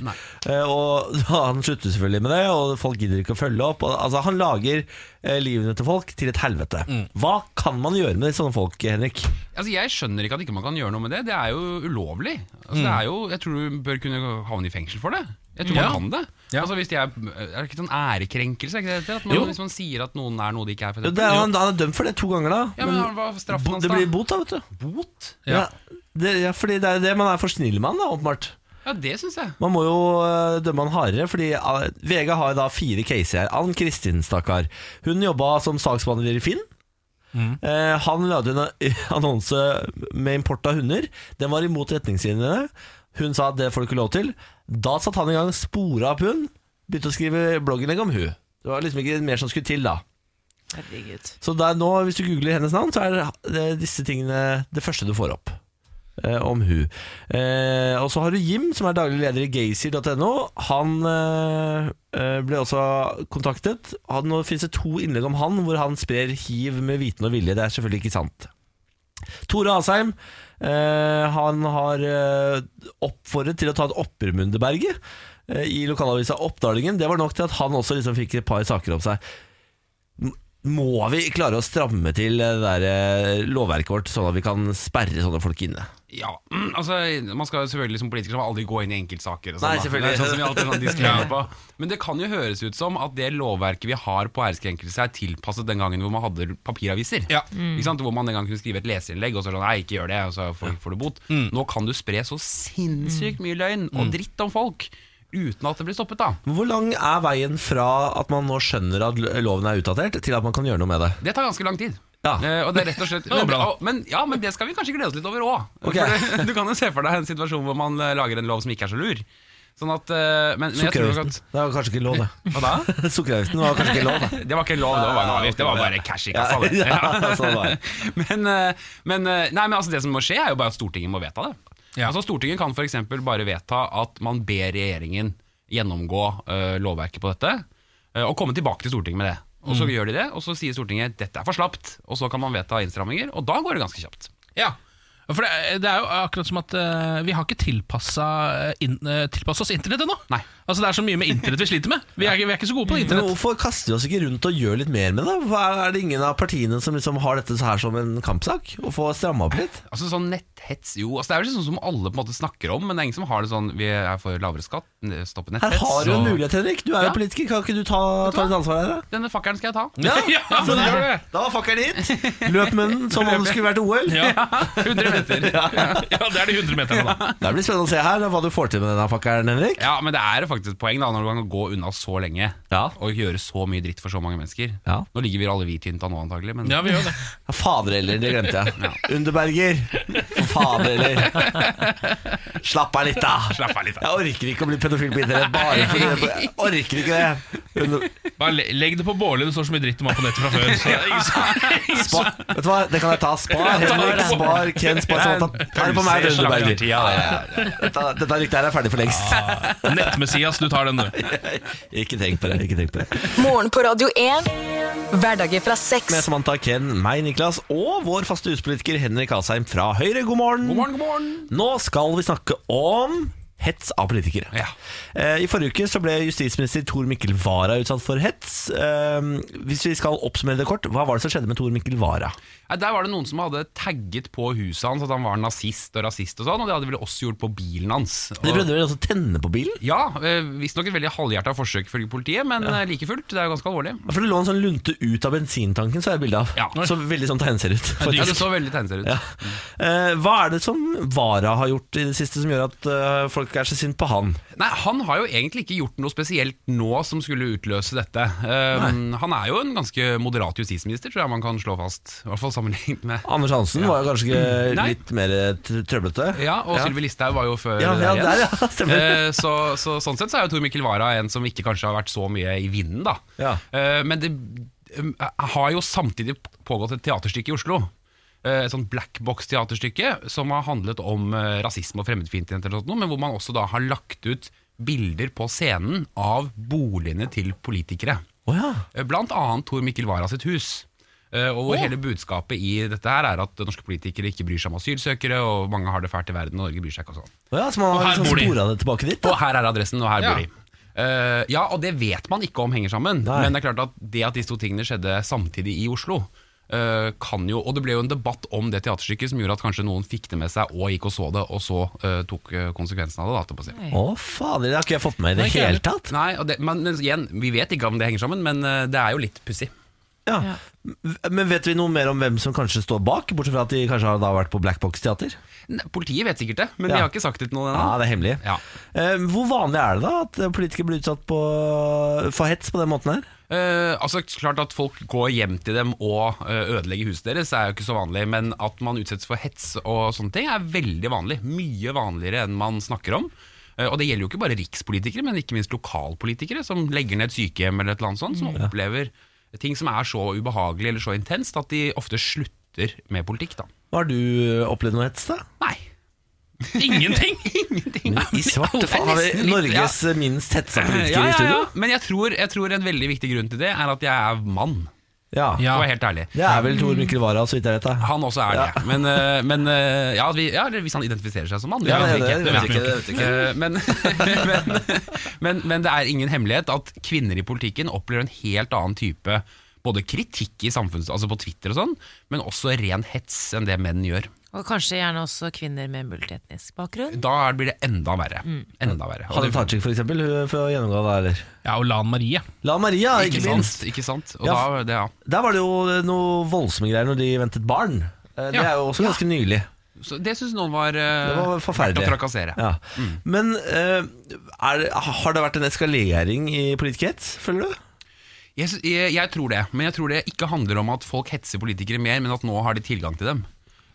Speaker 1: Eh, og han slutter selvfølgelig med det, og folk gidder ikke å følge opp. Og, altså, han lager eh, livene til folk til et helvete.
Speaker 6: Mm.
Speaker 1: Hva kan man gjøre med sånne folk, Henrik?
Speaker 6: Altså, jeg skjønner ikke at ikke man kan gjøre noe med det. Det er jo ulovlig. Altså, det er jo, jeg tror du bør kunne havne i fengsel for det. Jeg tror
Speaker 4: Ja.
Speaker 6: man kan det. Altså, hvis de er, er det ikke sånn ærekrenkelse? er Ikke det, det heter? at man,
Speaker 4: Jo.
Speaker 6: hvis man sier at noen er noe de ikke er. For
Speaker 1: Jo, det er, han, han er dømt for det to ganger, da.
Speaker 6: ja, men hva er straffen
Speaker 1: bo,
Speaker 6: hans,
Speaker 1: det
Speaker 6: da?
Speaker 1: blir bot, da, vet du.
Speaker 6: bot?
Speaker 1: Ja. det, ja, fordi det er det man er for snill med han, da, åpenbart.
Speaker 6: Ja, det syns jeg.
Speaker 1: Man må jo øh, dømme han hardere, fordi øh, VG har da fire caser her. Ann Kristin, stakkar. Hun jobba som saksbehandler i Finn. Eh, han lagde en annonse med import av hunder. Den var imot retningslinjene. Hun sa at det får du ikke lov til. Da satte han i gang, spora opp hun, begynte å skrive blogginnlegg om hun. Det var liksom ikke mer som skulle til da.
Speaker 3: Herregud.
Speaker 1: Så det er nå, hvis du googler hennes navn, så er det disse tingene det første du får opp. eh, om hun. Eh, og så har du Jim, som er daglig leder i gaysir.no. Han eh, eh, ble også kontaktet. Han, nå finnes det to innlegg om han hvor han sprer hiv med viten og vilje. Det er selvfølgelig ikke sant. Tore Asheim eh, han har eh, oppfordret til å ta et opprør med Underberget eh, i lokalavisa Oppdalingen. Det var nok til at han også liksom fikk et par saker om seg. Må vi klare å stramme til det der eh, lovverket vårt, sånn at vi kan sperre sånne folk inne?
Speaker 6: Ja, mm, altså Man skal jo selvfølgelig som politiker aldri gå inn i enkeltsaker. Og sånn,
Speaker 1: Nei,
Speaker 6: da.
Speaker 1: selvfølgelig.
Speaker 6: Det er sånn som vi alltid sånn disclaimer på. Men det kan jo høres ut som at det lovverket vi har på æreskrenkelse, er tilpasset den gangen hvor man hadde papiraviser.
Speaker 4: Ja.
Speaker 6: Ikke sant? Hvor man den gang kunne skrive et leserinnlegg og så sånn Nei, ikke gjør det, og så får, får du bot.
Speaker 1: Mm.
Speaker 6: Nå kan du spre så sinnssykt mye løgn og dritt om folk uten at det blir stoppet, da.
Speaker 1: Men Hvor lang er veien fra at man nå skjønner at lo- loven er utdatert, til at man kan gjøre noe med det?
Speaker 6: Det tar ganske lang tid.
Speaker 1: Ja.
Speaker 6: Eh, og det er rett og slett
Speaker 4: var
Speaker 6: men,
Speaker 4: bra.
Speaker 6: og- men, ja, men det skal vi kanskje glede oss litt over òg.
Speaker 1: Ok.
Speaker 6: Du kan jo se for deg en situasjon hvor man eh, lager en lov som ikke er så lur. Sånn at eh, Men, men jeg tror nok
Speaker 1: Sukkeravgiften.
Speaker 6: at
Speaker 1: Det var kanskje ikke lov, det.
Speaker 6: Hva da?
Speaker 1: Sukkeravgiften var kanskje ikke lov, da.
Speaker 6: Det var ikke lov, det var bare en avgift. Det var bare cash i kassa. det.
Speaker 1: Ja, sånn var det.
Speaker 6: men, eh, men, eh, nei, men altså det som må skje, er jo bare at Stortinget må vedta det.
Speaker 4: Ja.
Speaker 6: Altså Stortinget kan f.eks. bare vedta at man ber regjeringen gjennomgå eh, lovverket på dette, eh, og komme tilbake til Stortinget med det. Og
Speaker 1: Mm.
Speaker 6: så gjør de det, og så sier Stortinget dette er for slapt, og så kan man vedta innstramminger, og da går det ganske kjapt.
Speaker 4: Ja. For det, det er jo akkurat som at eh, vi har ikke tilpassa in, eh, tilpasset oss internett ennå.
Speaker 6: Nei.
Speaker 4: Altså Det er så mye med internett vi sliter med. Vi er, ikke- vi er ikke så gode på
Speaker 1: Men
Speaker 4: internett.
Speaker 1: hvorfor kaster vi oss ikke rundt og gjør litt mer med det? Hva er det ingen av partiene som liksom har dette så her som en kampsak? Å få stramma opp litt?
Speaker 6: Altså sånn netthets, jo, altså Det er vel sånn som alle på en måte snakker om, men det er ingen som har det sånn Vi er for lavere skatt, stoppe
Speaker 1: Her
Speaker 6: netthets.
Speaker 1: har du en
Speaker 6: og-
Speaker 1: mulighet, Henrik. Du er jo
Speaker 6: Ja.
Speaker 1: politiker. Kan ikke du ta, ta litt ansvar her? da?
Speaker 6: Denne fakkelen skal jeg ta.
Speaker 4: Ja,
Speaker 1: så
Speaker 4: men det
Speaker 1: da-
Speaker 4: er det.
Speaker 1: Da var fakkelen hit. Løp med den som om det skulle vært OL.
Speaker 4: Ja.
Speaker 6: 100 meter.
Speaker 4: ja, det er de 100 meterne, da.
Speaker 1: Det blir spennende å se her hva du får til med denne fakkelen, Henrik.
Speaker 6: Ja, men det er faktisk et poeng da når du kan gå unna så lenge
Speaker 1: Ja.
Speaker 6: og gjøre så mye dritt for så mange mennesker.
Speaker 1: Ja.
Speaker 6: Nå ligger vi alle hvithinta nå, antagelig. Men
Speaker 4: Ja, vi gjør det.
Speaker 1: Fader heller, det glemte jeg. Underberger. For fader heller. Slapp av litt, da.
Speaker 6: Slapp av litt, da.
Speaker 1: Jeg orker ikke å bli pedofil på internett. Bare fordi jeg orker ikke det. Under
Speaker 4: Bare le- legg det på Bårli, det står så mye dritt om han på nettet fra før. Så det er ingen som- ingen som-
Speaker 1: Spar. Vet du hva, det kan jeg ta. Spar, Henrik, spar, Ken, spar. Sånn at han tar det på meg, det Underberger.
Speaker 6: Ja, ja,
Speaker 1: Dette, dette ryktet her er ferdig for lengst.
Speaker 4: Nett-Messias, du tar den, du.
Speaker 1: Ikke tenk på det. ikke tenk på det
Speaker 5: Morgen på Radio 1. Hverdager fra
Speaker 1: Med
Speaker 5: seks.
Speaker 1: Samantha Ken, meg, Niklas og vår faste huspolitiker Henrik Asheim fra Høyre. God morgen.
Speaker 6: God morgen, god morgen.
Speaker 1: Nå skal vi snakke om hets av politikere.
Speaker 6: Ja.
Speaker 1: Eh, I forrige uke så ble justisminister Tor Mikkel Wara utsatt for hets. Eh, Hvis vi skal oppsummere det kort, hva var det som skjedde med Tor Mikkel Wara?
Speaker 6: Nei, Der var det noen som hadde tagget på huset hans at han var nazist og rasist og sånn, og det hadde vel også gjort på bilen hans.
Speaker 1: De
Speaker 6: Og-
Speaker 1: prøvde vel også å tenne på bilen?
Speaker 6: Ja, eh, visstnok et veldig halvhjerta forsøk ifølge politiet, men eh, like fullt, det er jo ganske alvorlig.
Speaker 1: For det lå en sånn lunte ut av bensintanken, så er det bilde av.
Speaker 6: Ja.
Speaker 1: Så veldig sånn tegneser ut.
Speaker 6: Ja,
Speaker 1: faktisk.
Speaker 6: det så veldig tegneseriøst ut.
Speaker 1: Ja. Eh, hva er det som Vara har gjort i det siste som gjør at eh, folk er så sint på han?
Speaker 6: Nei, Han har jo egentlig ikke gjort noe spesielt nå som skulle utløse dette. Um, han er jo en ganske moderat justisminister, tror jeg man kan slå fast. I hvert fall sammenlignet med
Speaker 1: Anders Hansen var jo kanskje ikke
Speaker 6: Mm. Nei.
Speaker 1: litt mer tr- trøblete.
Speaker 6: Ja, og Sylvi Listhaug var jo før
Speaker 1: Ja, ja,
Speaker 6: igjen.
Speaker 1: der, ja, stemmer.
Speaker 6: Eh, så, så sånn sett så er jo Tor Mikkel Wara en som ikke kanskje har vært så mye i vinden, da.
Speaker 1: Ja.
Speaker 6: Eh, men det um, har jo samtidig pågått et teaterstykke i Oslo. Eh, Et sånt black box-teaterstykke som har handlet om eh, rasisme og fremmedfiendtlighet, eller sånt noe, men hvor man også da har lagt ut bilder på scenen av boligene til politikere.
Speaker 1: Å ja.
Speaker 6: Eh, Blant annet Tor Mikkel Wara sitt hus. Eh, Og hvor hele budskapet i dette her er at norske politikere ikke bryr seg om asylsøkere, og mange har det fælt i verden, og Norge bryr seg ikke og sånn.
Speaker 1: Å ja, så man
Speaker 4: Og
Speaker 1: har
Speaker 4: her
Speaker 1: liksom
Speaker 4: bor de.
Speaker 1: spora det tilbake dit.
Speaker 6: Og
Speaker 1: Da.
Speaker 6: her er adressen, og her
Speaker 4: Ja.
Speaker 6: bor de. Eh, ja, og det vet man ikke om henger sammen,
Speaker 1: Nei.
Speaker 6: men det er klart at det at disse to tingene skjedde samtidig i Oslo, eh, kan jo Og det ble jo en debatt om det teaterstykket som gjorde at kanskje noen fikk det med seg og gikk og så det, og så eh, tok eh, konsekvensen av det. Da, holdt jeg på å si.
Speaker 1: Å fader, det har ikke jeg fått med meg i det
Speaker 4: Nei, ikke
Speaker 1: hele
Speaker 4: jeg
Speaker 1: tatt.
Speaker 6: Nei, og det, men, men igjen, vi vet ikke om det henger sammen, men eh, det er jo litt pussig.
Speaker 1: Ja.
Speaker 3: Ja.
Speaker 1: M- Men vet vi noe mer om hvem som kanskje står bak, bortsett fra at de kanskje har da vært på Black Box Teater?
Speaker 6: Ne, Politiet vet sikkert det, men
Speaker 1: Ja.
Speaker 6: de har ikke sagt det til noen
Speaker 1: Ja,
Speaker 6: ennå.
Speaker 1: det er hemmelig.
Speaker 6: Ja.
Speaker 1: Eh, hvor vanlig er det da at politikere blir utsatt på, for hets på den måten her?
Speaker 6: Eh, altså Klart at folk går hjem til dem og eh, ødelegger huset deres, er jo ikke så vanlig. Men at man utsettes for hets og sånne ting, er veldig vanlig. Mye vanligere enn man snakker om. Eh, og det gjelder jo ikke bare rikspolitikere, men ikke minst lokalpolitikere som legger ned et sykehjem eller et eller annet sånt,
Speaker 1: Mm.
Speaker 6: som opplever ting som er så ubehagelig eller så intenst at de ofte slutter med politikk, da.
Speaker 1: Har du opplevd noe hets, da?
Speaker 6: Nei.
Speaker 4: Ingenting!
Speaker 6: Ingenting.
Speaker 1: I svarte faen har
Speaker 6: Det er
Speaker 1: vi
Speaker 6: nesten litt-
Speaker 1: Norges minst hetsa politiker
Speaker 6: Ja,
Speaker 1: i
Speaker 6: ja, ja.
Speaker 1: studio.
Speaker 6: Men jeg tror, jeg tror en veldig viktig grunn til det er at jeg er mann.
Speaker 1: Ja.
Speaker 6: Ja.
Speaker 4: Ja.
Speaker 6: For å være helt ærlig.
Speaker 1: Det er vel Tor Mikkel Wara, så vidt jeg vet. Da.
Speaker 6: Han også er det. Men, øh, men øh, ja, vi, ja, eller hvis han identifiserer seg som mann.
Speaker 1: Ja, det-
Speaker 6: vet vi
Speaker 1: det
Speaker 6: ikke.
Speaker 1: vet
Speaker 6: vet vi
Speaker 1: vi ikke,
Speaker 6: ikke. Øh, Men, men, men, men det er ingen hemmelighet at kvinner i politikken opplever en helt annen type både kritikk i samfunns, altså på Twitter og sånn, men også ren hets enn det menn gjør.
Speaker 3: Og kanskje gjerne også kvinner med multietnisk bakgrunn.
Speaker 6: Da er- blir det enda verre.
Speaker 1: Mm.
Speaker 6: Enda verre. Og
Speaker 1: Hadia
Speaker 6: det-
Speaker 1: Tajik, for eksempel, hun får gjennomgå det, eller?
Speaker 4: Ja, og Lan Marie.
Speaker 1: La Maria, ikke
Speaker 6: ikke
Speaker 1: minst.
Speaker 6: sant? Ikke sant? Og
Speaker 1: Ja.
Speaker 6: da, det, ja.
Speaker 1: Der var det jo noe voldsomme greier når de ventet barn. Eh, Det
Speaker 4: Ja.
Speaker 1: er jo også ganske nylig.
Speaker 6: Så det syns noen var, øh,
Speaker 1: Det var
Speaker 6: verdt
Speaker 1: forferdelig.
Speaker 6: å trakassere.
Speaker 1: Ja. Men eh, er, har det vært en eskalering i politikerhets, føler du?
Speaker 6: Jeg, sy- jeg, jeg tror det, men jeg tror det ikke handler om at folk hetser politikere mer, men at nå har de tilgang til dem.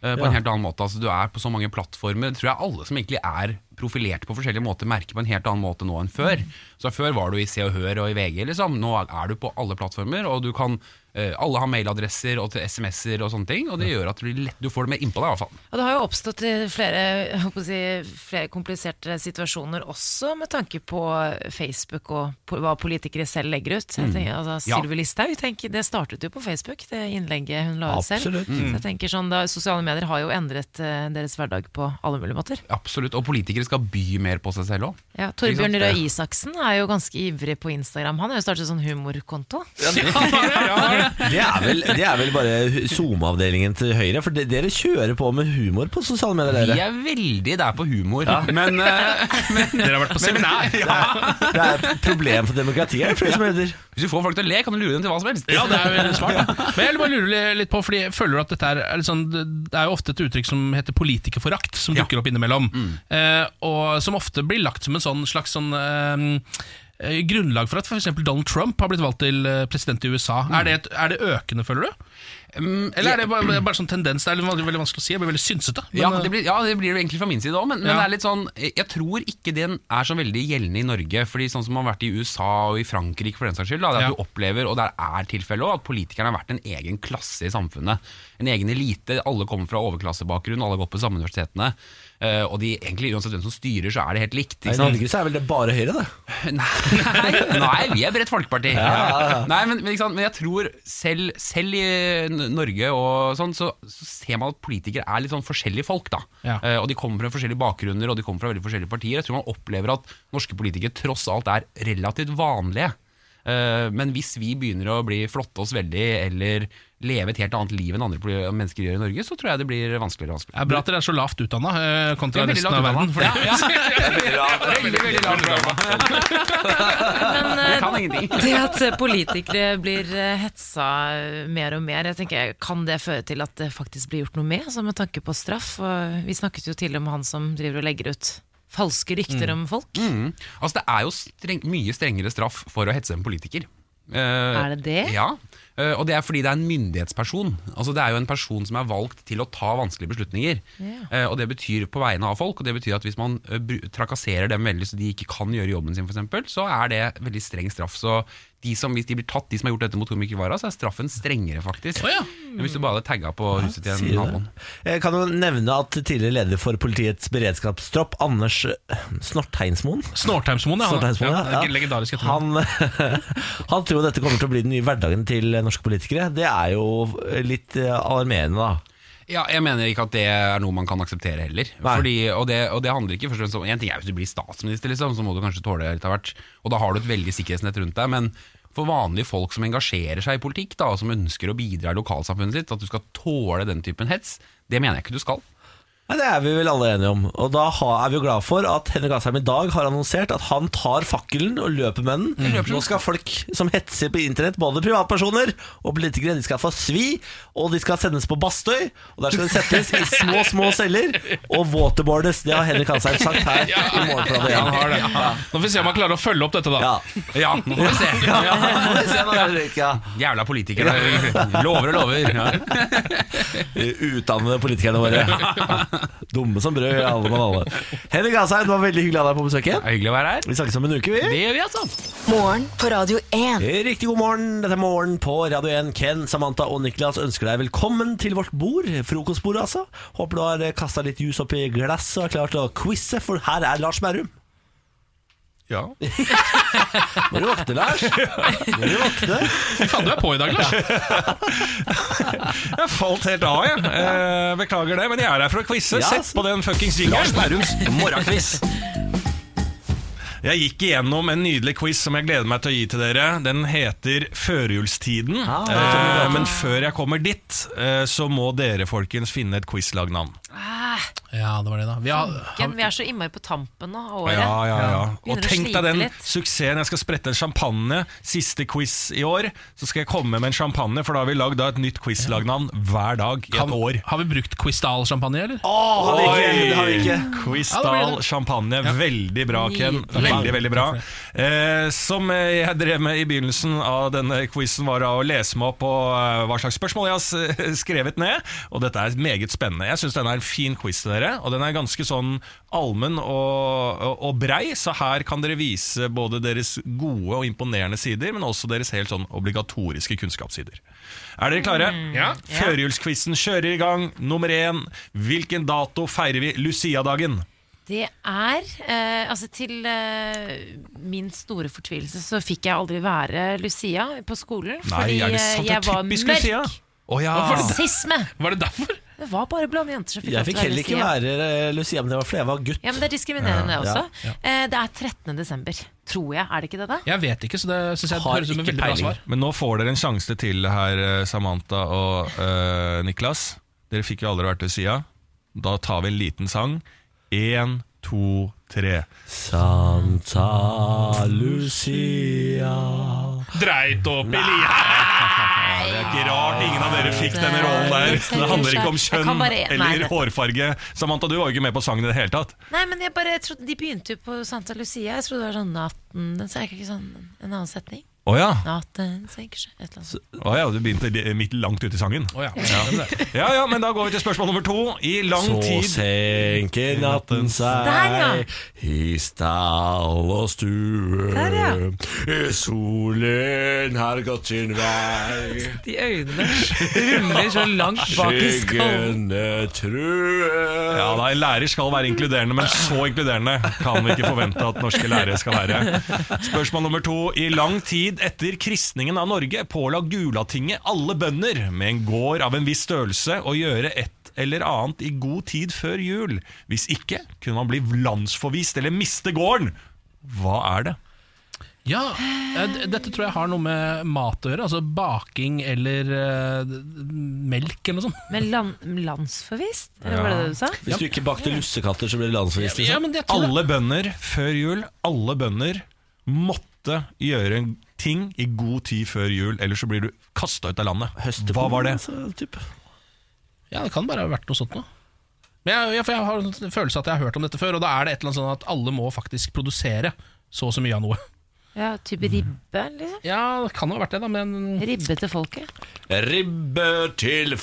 Speaker 6: eh, på
Speaker 1: Ja.
Speaker 6: en helt annen måte. Altså, du er på så mange plattformer. Det tror jeg alle som egentlig er profilert på forskjellige måter, merker på en helt annen måte nå enn før. Så Før var du i Se og Hør og i VG, liksom. Nå er du på alle plattformer, og du kan eh, alle har mailadresser og til SMS-er og sånne ting, og det gjør at du, blir lett, du får det mer innpå deg, i hvert fall.
Speaker 3: Og det har jo oppstått eh, flere, jeg holdt på å si, flere kompliserte situasjoner også med tanke på Facebook og po- hva politikere selv legger ut. Jeg tenker, altså,
Speaker 6: Mm. Ja.
Speaker 3: Sylvi Listhaug, tenk, det startet jo på Facebook, det innlegget hun la ut selv.
Speaker 1: Absolutt.
Speaker 3: Så
Speaker 6: Mm.
Speaker 3: jeg tenker sånn, da, Sosiale medier har jo endret eh, deres hverdag på alle mulige måter.
Speaker 6: Absolutt. Og politikere skal by mer på seg selv òg.
Speaker 3: Ja, Torbjørn
Speaker 6: Ikke sant?
Speaker 3: Røe Isaksen er jo ganske ivrig på Instagram. Han har jo startet sånn humorkonto.
Speaker 1: Det er vel, det er vel bare SoMe-avdelingen til Høyre, for de- dere kjører på med humor på sosiale medier.
Speaker 6: Vi
Speaker 1: Dere.
Speaker 6: er veldig der på humor, men, eh, men
Speaker 4: Dere har vært på seminar.
Speaker 1: Det er et problem for demokratiet, er det flere som hevder.
Speaker 6: hvis du får folk til å le, kan du lure dem til hva som helst.
Speaker 4: Ja, det er jo smart. da. Men jeg bare lurer litt på, fordi jeg føler at dette er er litt sånn, Det er jo ofte et uttrykk som heter politikerforakt, som dukker opp innimellom.
Speaker 6: Mm.
Speaker 4: Eh, og som ofte blir lagt som en sånn slags sånn eh, eh, grunnlag for at f.eks. Donald Trump har blitt valgt til eh, president i USA.
Speaker 6: Mm.
Speaker 4: Er, det et, er det økende, føler du? Eller er det bare, bare sånn tendens? Det er litt vanskelig- veldig vanskelig å si. Jeg blir veldig synsete. men,
Speaker 6: ja,
Speaker 4: eh,
Speaker 6: det blir, ja, det blir det egentlig fra min side òg, men, men
Speaker 4: Ja.
Speaker 6: det er litt sånn Jeg tror ikke den er så veldig gjeldende i Norge. Fordi sånn som man har vært i USA og i Frankrike, for den saks skyld, da, det er at
Speaker 4: Ja.
Speaker 6: du opplever, og der er tilfellet òg, at politikerne har vært en egen klasse i samfunnet. En egen elite. Alle kommer fra overklassebakgrunn, alle går på samme universitetene. eh, og de egentlig, uansett hvem som styrer, så er det helt likt.
Speaker 1: I
Speaker 6: Ikke sant?
Speaker 1: Norge så er vel det bare Høyre, det.
Speaker 6: Nei, nei, vi er Bredt Folkeparti. Nei, men, men, ikke sant? men jeg tror selv, selv i N- Norge og sånn, så, så ser man at politikere er litt sånn forskjellige folk. da.
Speaker 4: Ja.
Speaker 6: Eh, og De kommer fra forskjellige bakgrunner og de kommer fra veldig forskjellige partier. Jeg tror man opplever at norske politikere tross alt er relativt vanlige. Eh, men hvis vi begynner å bli flotte oss veldig eller leve et helt annet liv enn andre poli- mennesker gjør i Norge, så tror jeg det blir vanskeligere og vanskeligere.
Speaker 4: det er bra at dere er så lavt utdanna kontra
Speaker 6: Jeg er veldig
Speaker 4: resten av
Speaker 6: lavt
Speaker 4: verden.
Speaker 6: utdannet.
Speaker 4: for det-
Speaker 6: Veldig, veldig lavt drama.
Speaker 3: Men eh,
Speaker 6: Jeg kan ingenting.
Speaker 3: det at eh, politikere blir eh, hetsa eh, mer og mer, jeg tenker, kan det føre til at det faktisk blir gjort noe med, altså med tanke på straff? Og vi snakket jo til om han som driver og legger ut falske rykter om folk.
Speaker 6: Mm. Altså, det er jo streng, mye strengere straff for å hetse en politiker. Eh,
Speaker 3: Er det det?
Speaker 6: Ja. Eh, og det er fordi det er en myndighetsperson. Altså, det er jo en person som er valgt til å ta vanskelige beslutninger.
Speaker 3: Ja.
Speaker 6: Eh, og det betyr på vegne av folk, og det betyr at hvis man eh, bru- trakasserer dem veldig så de ikke kan gjøre jobben sin, for eksempel, så er det veldig streng straff. Så de som, hvis de blir tatt, de som har gjort dette mot Tor Mikkel Wara, så er straffen strengere, faktisk.
Speaker 4: Å ja.
Speaker 6: Men hvis du bare hadde tagga på huset til
Speaker 1: Sier
Speaker 6: en
Speaker 1: det.
Speaker 6: naboen.
Speaker 1: Jeg kan jo nevne at tidligere leder for politiets beredskapstropp, Anders Snortheinsmoen
Speaker 4: Snortheimsmoen, ja.
Speaker 1: Snortheimsmoen,
Speaker 4: ja.
Speaker 1: ja.
Speaker 4: Legendarisk etternavn.
Speaker 1: han, han tror dette kommer til å bli den nye hverdagen til norske politikere. Det er jo litt eh, alarmerende, da.
Speaker 6: Ja, jeg mener ikke at det er noe man kan akseptere heller.
Speaker 1: Nei.
Speaker 6: Fordi, og, det, og det handler ikke først og fremst om En ting er hvis du blir statsminister, liksom, så må du kanskje tåle det litt av hvert. Og da har du et veldig sikkerhetsnett rundt deg. Men for vanlige folk som engasjerer seg i politikk, da, og som ønsker å bidra i lokalsamfunnet sitt, at du skal tåle den typen hets, det mener jeg ikke du skal.
Speaker 1: Nei, Det er vi vel alle enige om. Og da ha, er vi jo glad for at Henrik Asheim i dag har annonsert at han tar fakkelen og løper med
Speaker 4: Mm.
Speaker 1: den. Nå skal folk som hetser på internett, både privatpersoner og politikere, de skal få svi, og de skal sendes på Bastøy. Og der skal de settes i små, små celler og waterboardes. Det har Henrik Asheim sagt her i Morgenbladet.
Speaker 4: Han har det. Nå får vi se om han klarer å følge opp dette, da.
Speaker 1: Ja.
Speaker 6: Ja, nå får vi se.
Speaker 1: Ja, får vi se nå, Henrik, ja.
Speaker 6: Jævla politikere. Lover og lover. Ja.
Speaker 1: Utdannede politikerne våre. Dumme som brød, alle mann alle. Henrik Asheim, det var veldig hyggelig å ha deg på besøk igjen.
Speaker 6: Det er hyggelig å være her.
Speaker 1: Vi snakkes om en uke, vi.
Speaker 6: Det gjør vi, altså.
Speaker 5: Morgen på Radio 1.
Speaker 1: Riktig god morgen. Dette er Morgen på Radio 1. Ken, Samantha og Niklas ønsker deg velkommen til vårt bord. Frokostbordet, altså. Håper du har kasta litt juice oppi glasset og er klar til å quize, for her er Lars Merrum.
Speaker 6: Ja.
Speaker 1: Må du våkne, Lars. Må du våkne.
Speaker 4: Fy faen, du er på i dag, Lars.
Speaker 7: Jeg falt helt av, jeg. Eh, beklager det, men jeg er her for å quize.
Speaker 1: Ja, altså.
Speaker 7: Sett på den fuckings jingeren.
Speaker 6: Bærums morgenkviss.
Speaker 7: Jeg gikk igjennom en nydelig quiz som jeg gleder meg til å gi til dere. Den heter Førjulstiden.
Speaker 1: Ah.
Speaker 7: eh, men før jeg kommer dit, eh, så må dere folkens finne et quizlagnavn.
Speaker 4: Ja, det var det, da. Vi har, har,
Speaker 3: Ken, vi er så innmari på tampen nå av året.
Speaker 7: Ja, ja, ja. Og
Speaker 3: Begynner å
Speaker 7: tenk deg
Speaker 3: slite
Speaker 7: den
Speaker 3: litt.
Speaker 7: suksessen. Jeg skal sprette en champagne. Siste quiz i år, så skal jeg komme med en champagne, for da har vi lagd da et nytt quizlagnavn hver dag i
Speaker 4: kan,
Speaker 7: et år.
Speaker 4: har vi brukt Quistal-champagne, eller?
Speaker 1: Åh, har vi ikke, det har vi ikke.
Speaker 4: Ja, det
Speaker 7: Quistal
Speaker 4: blir det.
Speaker 7: champagne. Veldig bra, Ken.
Speaker 3: Nydelig.
Speaker 7: Veldig, veldig bra. Eh, som eh, jeg drev med i begynnelsen av denne quizen, var å lese meg opp på eh, hva slags spørsmål jeg har s- skrevet ned. Og dette er meget spennende. Jeg syns denne er en fin quiz til dere, og den er ganske sånn allmenn og, og, og brei, så her kan dere vise både deres gode og imponerende sider, men også deres helt sånn obligatoriske kunnskapssider. Er dere klare?
Speaker 4: Ja.
Speaker 7: Førjulsquizen kjører i gang. Nummer én. Hvilken dato feirer vi Lucia-dagen?
Speaker 3: Det er eh, Altså, til eh, min store fortvilelse så fikk jeg aldri være Lucia på skolen. fordi
Speaker 7: er det
Speaker 3: eh,
Speaker 7: sant? Det er
Speaker 3: jeg var
Speaker 7: typisk
Speaker 3: mørk.
Speaker 7: Lucia. Å ja.
Speaker 3: Sisme!
Speaker 4: Var det derfor?
Speaker 3: Det var bare blonde jenter som fikk
Speaker 1: Jeg
Speaker 3: lov til
Speaker 1: fikk
Speaker 3: å være
Speaker 1: heller ikke
Speaker 3: Lucia.
Speaker 1: være eh, Lucia, men det var fordi jeg var gutt.
Speaker 3: Ja, men Det er diskriminerende, det
Speaker 1: Ja,
Speaker 3: også. Eh, det er 13. desember, tror jeg. Er det ikke det, da?
Speaker 4: Jeg vet ikke, så det syns jeg
Speaker 1: Har
Speaker 4: høres ut som et
Speaker 1: ikke
Speaker 4: veldig bra
Speaker 1: peiling.
Speaker 4: svar.
Speaker 7: Men nå får dere en sjanse til her, eh, Samantha og eh, Niklas. Dere fikk jo aldri vært Lucia. Da tar vi en liten sang. Én, to, tre.
Speaker 1: Santa Lucia
Speaker 4: Dreit opp i lia!
Speaker 7: Det er ikke rart ingen av dere fikk denne rollen der. Det handler ikke om
Speaker 3: Jeg kan
Speaker 7: kjønn
Speaker 3: bare- Nei,
Speaker 7: eller
Speaker 3: dette-
Speaker 7: hårfarge. Samantha, du var jo ikke med på sangen i det hele tatt.
Speaker 3: Nei, men jeg bare trodde De begynte jo på Santa Lucia. Jeg trodde det var sånn natten Den senker ikke sånn En annen setning.
Speaker 7: Å ja.
Speaker 3: Natten senker seg Et eller annet. sånt.
Speaker 7: Å ja, du begynte li- midt langt ute i sangen.
Speaker 4: Å ja. Ja.
Speaker 7: Ja ja, men da går vi til spørsmål nummer to. I lang
Speaker 1: Så
Speaker 7: tid
Speaker 1: senker natten seg
Speaker 3: Der, ja.
Speaker 1: i stall og stue.
Speaker 3: Der, ja.
Speaker 1: Solen har gått sin vei,
Speaker 3: De øynene ruller så langt bak i skallen.
Speaker 1: skyggene truer.
Speaker 7: Ja da, En lærer skal være inkluderende, men så inkluderende kan vi ikke forvente at norske lærere skal være. Spørsmål nummer to. I lang tid etter kristningen av Norge påla Gulatinget alle bønder med en gård av en viss størrelse å gjøre et eller annet i god tid før jul. Hvis ikke kunne man bli landsforvist eller miste gården. Hva er det?
Speaker 4: Ja, eh, d- Dette tror jeg har noe med mat å gjøre. Altså baking eller eh, d- melk eller noe sånt.
Speaker 3: Men land, landsforvist? Eller var det det du sa?
Speaker 1: Hvis du ikke bakte lussekatter, så ble du landsforvist.
Speaker 4: Ja,
Speaker 1: Liksom.
Speaker 4: men jeg tror det-
Speaker 7: Alle bønder før jul, alle bønder måtte gjøre en ting i god tid før jul, ellers så blir du kasta ut av landet.
Speaker 1: Høste
Speaker 7: Hva
Speaker 1: på
Speaker 7: var det?
Speaker 1: den, altså, typ.
Speaker 4: Ja, det kan bare ha vært noe sånt noe. Men jeg, ja, for jeg har en sånn følelse at jeg har hørt om dette før, og da er det et eller annet sånn at alle må faktisk produsere så og så mye av noe.
Speaker 3: Ja, type ribbe, liksom.
Speaker 4: Ja, det kan jo ha vært det, da, men
Speaker 3: Ribbe til folket.
Speaker 1: Ribbe til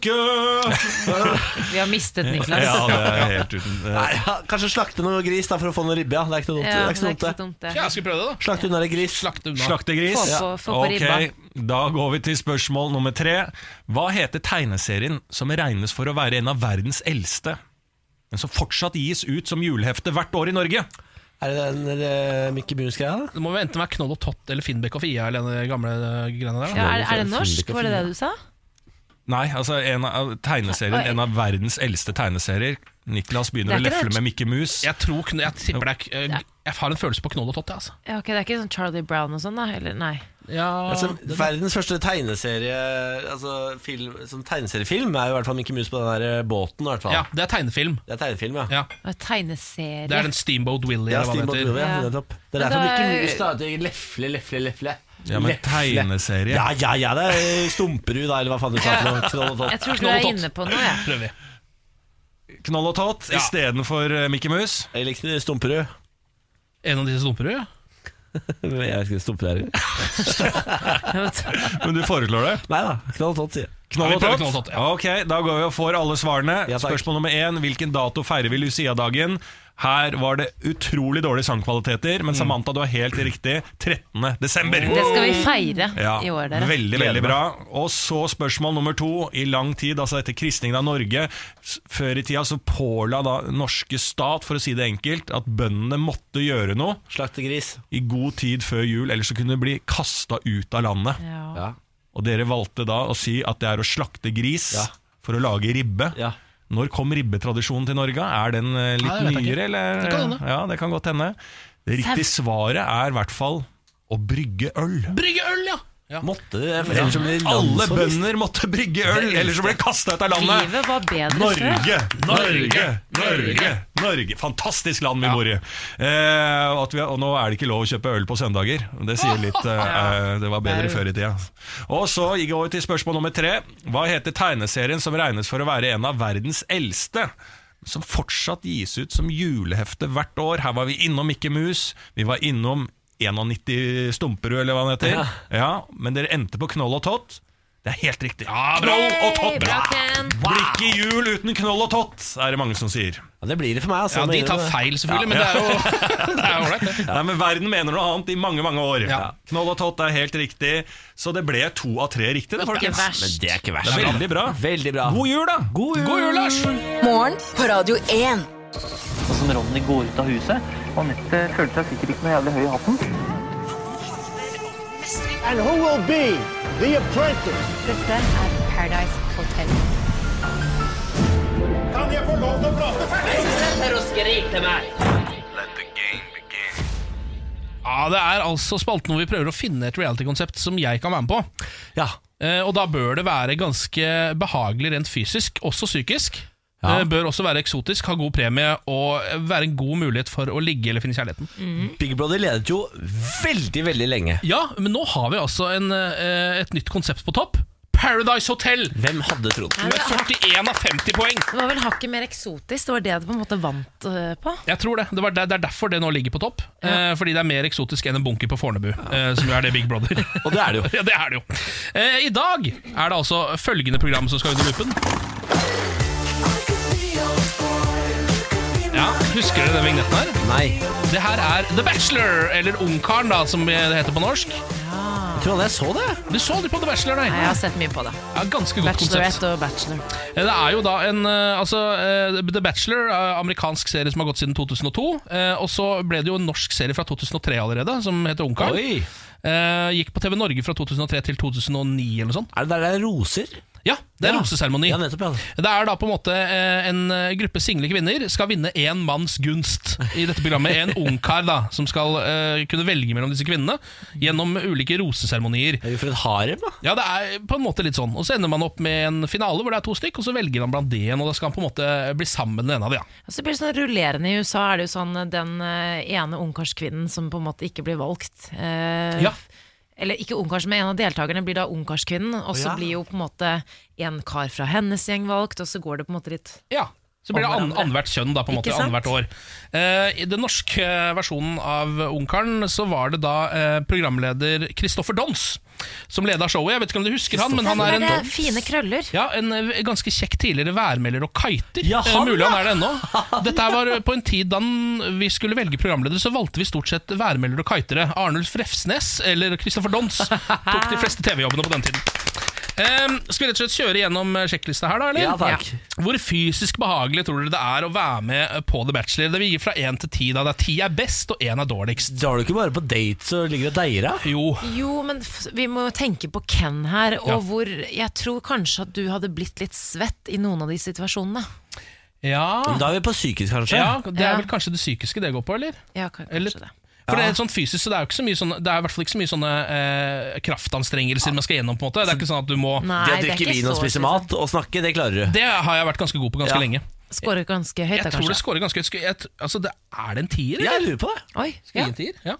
Speaker 1: folket!
Speaker 3: Vi har mistet Niklas.
Speaker 7: Ja, det er helt uten
Speaker 1: Nei, ja, kanskje slakte noe gris da for å få noe ribbe. Ja. Det er ikke noe dumt. det
Speaker 3: Ja, det
Speaker 1: er ikke så dumt, det.
Speaker 3: dumt, det.
Speaker 4: Ja, skal vi prøve det, da?
Speaker 1: Slakte unna en gris.
Speaker 4: Slakte unna.
Speaker 7: Slaktegris.
Speaker 3: Få på- få på
Speaker 7: Ok,
Speaker 3: ribba.
Speaker 7: Da går vi til spørsmål nummer tre. Hva heter tegneserien som regnes for å være en av verdens eldste, men som fortsatt gis ut som julehefte hvert år i Norge?
Speaker 1: Er det den uh, Mickey Mouse-greia? da?
Speaker 4: Det må jo enten være Knoll og Tott eller Finnbekk og Fia eller den gamle eh, greiene der. da.
Speaker 3: Ja, er, er det norsk? Var det det du sa?
Speaker 7: Nei, altså en av tegneserien, en av verdens eldste tegneserier. Niklas begynner å
Speaker 3: Det er ikke
Speaker 7: lefle
Speaker 3: det.
Speaker 7: med Mikke Mus.
Speaker 4: Jeg tror, kn- jeg tipper det er k- eh, Jeg har en følelse på Knoll og Tott, jeg, altså.
Speaker 3: Ja, ok, Det er ikke sånn Charlie Brown og sånn, da? Eller, nei.
Speaker 4: Ja,
Speaker 1: Altså,
Speaker 4: det-
Speaker 1: verdens første tegneserie Altså film, sånn tegneseriefilm er jo i hvert fall Mickey Mouse på den der eh, båten. I hvert fall.
Speaker 4: ja, det er tegnefilm.
Speaker 1: Det er tegnefilm, ja.
Speaker 4: Ja,
Speaker 3: Og Tegneserie.
Speaker 4: det er den Steamboat Willie
Speaker 1: Ja,
Speaker 4: eller hva
Speaker 1: Steamboat
Speaker 4: det heter.
Speaker 1: Willie, ja,
Speaker 3: Ja.
Speaker 1: nettopp. Det er
Speaker 3: Men
Speaker 1: derfor
Speaker 3: da
Speaker 1: Mickey
Speaker 3: er-
Speaker 1: Mouse da at jeg lefle, lefle, lefle.
Speaker 7: Ja, men
Speaker 1: Lefle.
Speaker 7: tegneserie
Speaker 1: Ja, ja, ja, det er Stumperud, da, eller hva faen du sa for noe. Knoll og
Speaker 3: Jeg
Speaker 1: tott.
Speaker 3: tror du
Speaker 4: Knoll og
Speaker 3: er
Speaker 4: tott.
Speaker 3: inne på noe, jeg.
Speaker 4: Prøver vi.
Speaker 7: Knoll og Tott
Speaker 4: Ja.
Speaker 7: istedenfor eh, Mikke Mus.
Speaker 1: Jeg likte Stumperud.
Speaker 4: En av disse stumperud, ja.
Speaker 1: Men Jeg vet ikke hva Stumperud er. engang.
Speaker 7: Men du foreslår det?
Speaker 1: Nei da, Knoll og tott, sier jeg.
Speaker 4: Ja,
Speaker 7: Knoll og
Speaker 4: vi prøver
Speaker 7: tott?
Speaker 4: knoll og tott, ja.
Speaker 7: Ok, Da går vi og får alle svarene.
Speaker 1: Ja, takk.
Speaker 7: Spørsmål nummer én hvilken dato feirer vi Lucia-dagen? Her var det utrolig dårlige sangkvaliteter,
Speaker 4: Mm.
Speaker 7: men Samantha, du har helt riktig. 13. desember.
Speaker 3: Det skal vi feire
Speaker 7: Ja,
Speaker 3: i år, dere.
Speaker 7: Veldig, veldig bra. Og så spørsmål nummer to. I lang tid, altså etter kristningen av Norge, s- før i tida så påla da norske stat, for å si det enkelt, at bøndene måtte gjøre noe
Speaker 1: Slaktegris.
Speaker 7: i god tid før jul, ellers så kunne de bli kasta ut av landet.
Speaker 3: Ja.
Speaker 1: Ja.
Speaker 7: Og dere valgte da å si at det er å slakte gris
Speaker 1: Ja.
Speaker 7: for å lage ribbe.
Speaker 1: Ja.
Speaker 7: Når kom ribbetradisjonen til Norge? Er den eh, litt
Speaker 4: Nei, det vet jeg ikke.
Speaker 7: nyere, eller?
Speaker 4: Det kan hende.
Speaker 7: ja, det kan godt hende. Det riktige svaret er i hvert fall å brygge øl.
Speaker 4: Brygge øl, ja! Ja.
Speaker 1: Måtte de det? For ellers så blir det
Speaker 7: Alle
Speaker 1: landsforvist.
Speaker 7: bønder måtte brygge øl, ellers så ble de kasta ut av landet.
Speaker 3: Livet var bedre før.
Speaker 7: Norge, Norge, Norge, Norge. Fantastisk land vi bor i. Eh, og at vi, og nå er det ikke lov å kjøpe øl på søndager. Det sier litt eh, eh, Det var bedre før i tida. Og så gikk jeg over til spørsmål nummer tre. Hva heter tegneserien som regnes for å være en av verdens eldste? Som fortsatt gis ut som julehefte hvert år. Her var vi innom Mikke Mus. Vi var innom 91 Stumperud, eller hva han heter. Ja. men dere endte på Knoll og Tott. Det er helt riktig. Knoll og Tott!
Speaker 3: Bra, Ken.
Speaker 7: Blir ikke jul uten knoll og tott, er det mange som sier.
Speaker 1: Ja, det blir det for meg. Altså,
Speaker 4: Ja, De
Speaker 1: Mener
Speaker 4: tar
Speaker 1: du det?
Speaker 4: feil, selvfølgelig, men det er jo det er jo ålreit, det.
Speaker 7: Nei, men Verden mener noe annet i mange mange år.
Speaker 4: Ja.
Speaker 7: Knoll og tott er helt riktig, så det ble to av tre riktig. Det,
Speaker 3: Ikke
Speaker 7: folkens.
Speaker 1: Men
Speaker 3: verst.
Speaker 1: det er ikke
Speaker 7: det
Speaker 1: verst.
Speaker 7: er veldig bra.
Speaker 1: Veldig bra.
Speaker 7: God jul, da!
Speaker 1: God jul.
Speaker 4: God jul, Lars!
Speaker 5: Morgen på Radio 1.
Speaker 8: Og som Ronny går ut av huset. Og Anette føler seg sikkert ikke noe jævlig høy i hatten.
Speaker 9: And who will be the apprentice?
Speaker 10: Dette er Paradise Hotel.
Speaker 9: Kan jeg få lov til å prate ferdig?
Speaker 4: Ja, Det er altså spalten hvor vi prøver å finne et reality-konsept som jeg kan være med på.
Speaker 1: Ja.
Speaker 4: Eh, og da bør det være ganske behagelig rent fysisk, også psykisk.
Speaker 1: Ja.
Speaker 4: Eh, bør også være eksotisk, ha god premie og være en god mulighet for å ligge eller finne kjærligheten.
Speaker 1: Big Brother ledet jo veldig, veldig lenge.
Speaker 4: Ja, men nå har vi altså en, eh, et nytt konsept på topp. Paradise Hotel!
Speaker 1: Hvem hadde trodd?
Speaker 4: Med 41 av 50 poeng.
Speaker 3: Det var vel hakket mer eksotisk. Det var det du på en måte vant eh, på.
Speaker 4: Jeg tror Det det, var der, det er derfor det nå ligger på topp. Eh, fordi det er mer eksotisk enn en bunker på Fornebu, eh, som jo er det Big Brother.
Speaker 1: Og det er det jo.
Speaker 4: ja, det er det jo. Eh, I dag er det altså følgende program som skal under lupen. Ja, Husker dere den vignetten her?
Speaker 1: Nei.
Speaker 4: Det her er The Bachelor, eller Ungkaren, da, som det heter på norsk.
Speaker 1: Jeg tror aldri jeg så det.
Speaker 4: Du så aldri på The Bachelor, nei?
Speaker 3: Nei, jeg har sett mye på det.
Speaker 4: Ja, ganske godt konsept.
Speaker 3: Bachelorette og bachelor.
Speaker 4: Eh, Det er jo da en eh, Altså, eh, The Bachelor, eh, amerikansk serie som har gått siden 2002. eh, Og så ble det jo en norsk serie fra 2003 allerede, som heter Ungkaren.
Speaker 1: Oi.
Speaker 4: Eh, Gikk på TV Norge fra 2003 til 2009 eller noe sånt.
Speaker 1: Er det der det er roser?
Speaker 4: Ja, det er
Speaker 1: Ja.
Speaker 4: roseseremoni.
Speaker 1: Ja, nettopp. ja.
Speaker 4: Det er da på en måte eh, en eh, gruppe single kvinner skal vinne én manns gunst i dette programmet. En ungkar da, som skal eh, kunne velge mellom disse kvinnene gjennom ulike roseseremonier.
Speaker 1: Er vi for et harem, da?
Speaker 4: Ja, det er på en måte litt sånn. Og så ender man opp med en finale hvor det er to stykk, og så velger han blant det igjen, og da skal han på en måte bli sammen med den ene av de. Ja.
Speaker 3: Og så blir det sånn rullerende i USA, er det jo sånn eh, den eh, ene ungkarskvinnen som på en måte ikke blir valgt. Eh,
Speaker 4: Ja.
Speaker 3: Eller ikke ungkars, men en av deltakerne blir da ungkarskvinnen, og så
Speaker 1: Å, ja.
Speaker 3: blir jo på en måte en kar fra hennes gjeng valgt, og så går det på en måte litt
Speaker 4: Ja. Så blir det
Speaker 3: Om
Speaker 4: an-
Speaker 3: hverandre.
Speaker 4: annethvert kjønn, da, på en måte,
Speaker 3: Ikke sant?
Speaker 4: annethvert år. Eh, I den norske versjonen av Ungkaren så var det da eh, programleder Kristoffer Dons som leda showet. Jeg vet ikke om du husker han, men han er en
Speaker 3: det fine krøller.
Speaker 4: ja, En eh, ganske kjekk tidligere værmelder og kiter.
Speaker 1: Ja,
Speaker 4: Eh,
Speaker 1: han,
Speaker 4: Mulig
Speaker 1: ja.
Speaker 4: han er det ennå. Dette her var eh, på en tid da han- vi skulle velge programleder, så valgte vi stort sett værmelder og kitere. Arnulf Refsnes eller Christopher Dons tok de fleste TV-jobbene på den tiden. Eh, skal vi rett og slett kjøre gjennom eh, sjekklista her, da? eller?
Speaker 1: Ja, takk.
Speaker 4: Hvor fysisk behagelig tror dere det er å være med eh, på The Bachelor? Det vil gi fra én til ti, da. Der ti er best, og én er dårligst.
Speaker 1: Drar du ikke bare på dates og ligger og deier av?
Speaker 4: Jo,
Speaker 3: Jo, men f vi må jo tenke på Ken her, og
Speaker 4: Ja.
Speaker 3: hvor jeg tror kanskje at du hadde blitt litt svett i noen av de situasjonene.
Speaker 4: ja
Speaker 1: Da er vi på psykisk, kanskje.
Speaker 4: Ja, Det er
Speaker 3: Ja.
Speaker 4: vel kanskje det psykiske det går på, eller?
Speaker 3: Ja, kan-
Speaker 4: Eller-
Speaker 3: kanskje det.
Speaker 4: For Det er sånn fysisk, så det er jo ikke så mye sånne, Det er i hvert fall ikke så mye sånne eh, kraftanstrengelser man skal gjennom. på en måte Det er ikke sånn at du må
Speaker 1: Det å
Speaker 3: Nei, det er
Speaker 1: drikke
Speaker 3: ikke
Speaker 1: vin og
Speaker 3: så
Speaker 1: spise
Speaker 3: slitsomt.
Speaker 1: mat og snakke, det klarer du.
Speaker 4: Det har jeg vært ganske god på ganske
Speaker 1: Ja.
Speaker 4: lenge.
Speaker 3: Skårer ganske høyt,
Speaker 4: Jeg
Speaker 3: da,
Speaker 4: tror det
Speaker 3: kanskje.
Speaker 4: scorer ganske høyt. Skal- jeg t- Altså, det, er det en tier?
Speaker 1: Jeg
Speaker 4: eller?
Speaker 1: lurer på det.
Speaker 3: Oi, ja.
Speaker 4: Skal jeg gi en tier? Ja.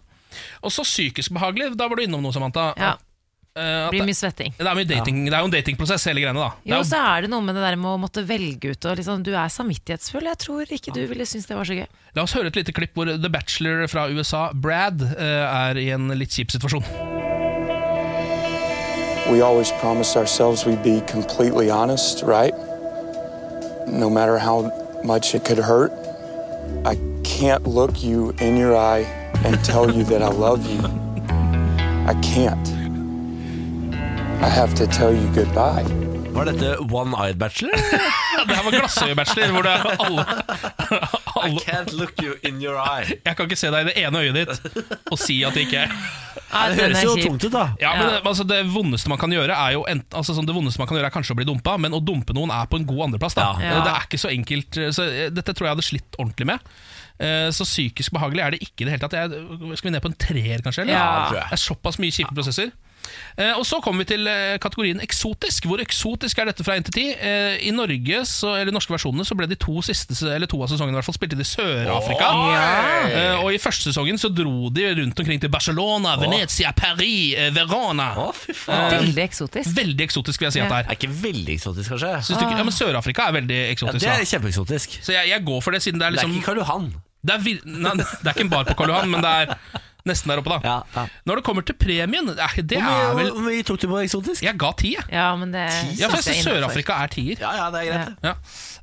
Speaker 4: Og så psykisk behagelig. Da var du innom noe, Samantha.
Speaker 3: ja.
Speaker 4: Eh, at
Speaker 3: Blir
Speaker 4: det,
Speaker 3: mye svetting.
Speaker 4: det, er mye dating, det er jo en datingprosess, hele greiene. da Det er
Speaker 3: Jo, så er det noe med det der med å måtte velge ut og liksom, Du er samvittighetsfull. Jeg tror ikke du ville synes det var så gøy.
Speaker 4: La oss høre et lite klipp hvor The Bachelor fra USA, Brad, eh, er i en litt kjip situasjon.
Speaker 11: We always promised ourselves we'd be completely honest, right? No matter how much it could hurt. I can't look you in your eye and tell you that I love you. I can't. I have to tell you goodbye.
Speaker 1: Var dette One Eyed Bachelor?
Speaker 4: Ja, det her var Glassøye-bachelor, hvor det er alle, alle
Speaker 1: can't look you in your eye.
Speaker 4: Jeg kan ikke se deg i det ene øyet ditt og si at det ikke er
Speaker 3: Ja,
Speaker 1: Det
Speaker 3: den
Speaker 1: høres
Speaker 3: er
Speaker 1: jo
Speaker 3: kjip.
Speaker 1: tungt ut, da.
Speaker 4: Ja, men
Speaker 3: Ja.
Speaker 4: det- altså, Det vondeste man kan gjøre er jo ent, altså, sånn, Det vondeste man kan gjøre er kanskje å bli dumpa, men å dumpe noen er på en god andreplass. da
Speaker 3: Ja.
Speaker 4: Det er ikke så enkelt eh, så, eh, Dette tror jeg hadde slitt ordentlig med. Eh, Så psykisk behagelig er det ikke i det hele tatt. Jeg, skal vi ned på en treer, kanskje? Eller?
Speaker 3: Ja.
Speaker 4: Det er såpass mye kjipe prosesser. Eh, Og Så kommer vi til eh, kategorien eksotisk. Hvor eksotisk er dette fra 1 til 10? Eh, I Norge, så, eller norske versjonene så ble de to siste Eller to av sesongene i hvert fall spilt inn i Sør-Afrika.
Speaker 12: Oi!
Speaker 4: Eh, Og I første sesongen så dro de rundt omkring til Barcelona, Venezia, Paris, eh, Verona. Eh,
Speaker 3: Veldig eksotisk.
Speaker 4: Veldig eksotisk, vil jeg si at det er.
Speaker 1: er ikke veldig eksotisk, kanskje.
Speaker 4: Synes du ikke? Ja, men Sør-Afrika er veldig
Speaker 1: Ja,
Speaker 4: eksotisk.
Speaker 1: det
Speaker 4: da.
Speaker 1: er kjempeeksotisk.
Speaker 4: Så jeg, jeg går for det, siden det er
Speaker 1: Det er
Speaker 4: liksom
Speaker 1: ikke Karl Johan.
Speaker 4: det er, vir- nei, det er ikke en bar på Karl Johan, men det er nesten der oppe, da. Når det kommer til premien eh, Det
Speaker 1: Hvor
Speaker 4: er
Speaker 1: mye-
Speaker 4: vel
Speaker 1: hvor mye tok du på eksotisk?
Speaker 4: Jeg ga ti, jeg.
Speaker 3: Ja, men det
Speaker 4: Ja, for jeg synes Sør-Afrika er tier.
Speaker 1: Ja, ja, det er greit.
Speaker 4: Ja.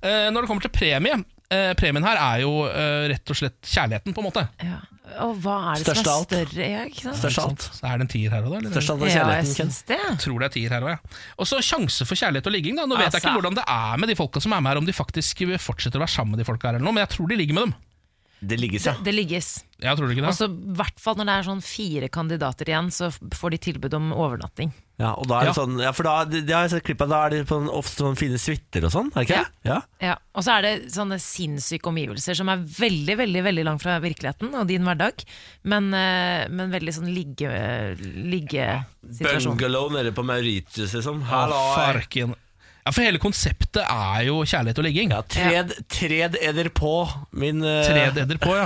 Speaker 4: Eh, når det kommer til premie eh, Premien her er jo eh, rett og slett kjærligheten, på en måte.
Speaker 3: Og hva er det
Speaker 4: Størst
Speaker 3: som
Speaker 4: av
Speaker 3: er
Speaker 4: alt.
Speaker 3: større? Ja, ikke sant?
Speaker 4: Ikke sant? Så er det en tier her òg, da? eller?
Speaker 1: Størst av alt er
Speaker 3: Ja, jeg syns det.
Speaker 4: Jeg tror det er tier her òg, ja. Og så sjanse for kjærlighet og ligging, da. Nå vet jeg
Speaker 3: Altså.
Speaker 4: ikke hvordan det er med de folka som er med her, om de faktisk fortsetter å være sammen med de folka her eller noe, men jeg tror de ligger med dem.
Speaker 1: Det ligges,
Speaker 3: Det ligges.
Speaker 4: Jeg tror det ikke
Speaker 3: Og
Speaker 4: det.
Speaker 3: så Altså, i hvert fall når det er sånn fire kandidater igjen, så f- får de tilbud om overnatting.
Speaker 1: Ja, og da er det sånn, ja, for da, det, det har jeg sett klipp av, da er det på en, ofte sånn fine suiter og sånn, er det ikke det? Ja.
Speaker 3: Ja, Og så er det sånne sinnssyke omgivelser som er veldig veldig, veldig langt fra virkeligheten og din hverdag, men, eh, men veldig sånn ligge... liggesituasjon.
Speaker 1: Bungalow nede på Mauritius, liksom.
Speaker 4: Å, farken. Ja, For hele konseptet er jo kjærlighet og ligging. Ja,
Speaker 1: Tred, tred eder på min eh,
Speaker 4: Tred edder på, ja.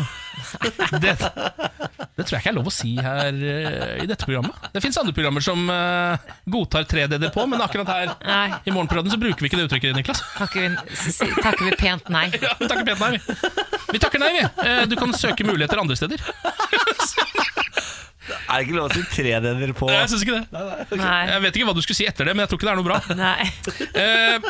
Speaker 4: Det, det tror jeg ikke er lov å si her eh, i dette programmet. Det fins andre programmer som eh, godtar tred edder på, men akkurat her
Speaker 3: Nei.
Speaker 4: i morgenperioden så bruker vi ikke det uttrykket, Niklas.
Speaker 3: Takker vi, s- s- takker vi pent nei.
Speaker 4: Ja, vi takker pent nei, vi. Vi takker nei, vi. Eh, Du kan søke muligheter andre steder.
Speaker 1: Er det ikke lov å si tred eder på?
Speaker 4: Nei, Jeg syns ikke det.
Speaker 3: Nei.
Speaker 4: Jeg vet ikke hva du skulle si etter det, men jeg tror ikke det er noe bra.
Speaker 3: Nei.
Speaker 4: Eh,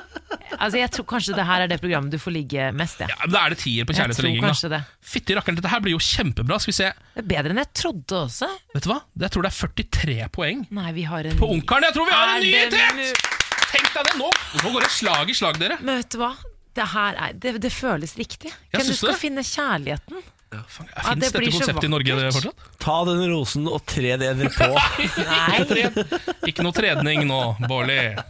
Speaker 3: Altså, jeg tror kanskje det her er det programmet du får ligge mest, jeg.
Speaker 4: Ja, men Da er det tier på
Speaker 3: Jeg
Speaker 4: kjærlighet og
Speaker 3: tror
Speaker 4: ligging.
Speaker 3: kanskje det.
Speaker 4: da. Fytti rakkeren, dette her blir jo kjempebra. Skal vi se.
Speaker 3: Det er bedre enn jeg trodde også.
Speaker 4: Vet du hva? Jeg tror det er 43 poeng.
Speaker 3: Nei, vi har en
Speaker 4: På Ungkaren, jeg tror vi har en
Speaker 3: Mm. Er
Speaker 4: nyhet!
Speaker 3: det
Speaker 4: Tenk deg det nå! Nå går det slag i slag, dere.
Speaker 3: Men vet du hva? Det her er, det, det føles riktig.
Speaker 4: Ja,
Speaker 3: Hvem du
Speaker 4: syns du
Speaker 3: skal
Speaker 4: det?
Speaker 3: finne kjærligheten?
Speaker 4: Ja,
Speaker 3: Ja,
Speaker 4: Fins
Speaker 3: det blir
Speaker 4: dette
Speaker 3: så
Speaker 4: konseptet i Norge
Speaker 3: vakkert.
Speaker 4: fortsatt?
Speaker 1: Ta den rosen og tred eder på.
Speaker 3: Nei.
Speaker 4: Ikke noe tredning nå, Bårli.
Speaker 1: Ja,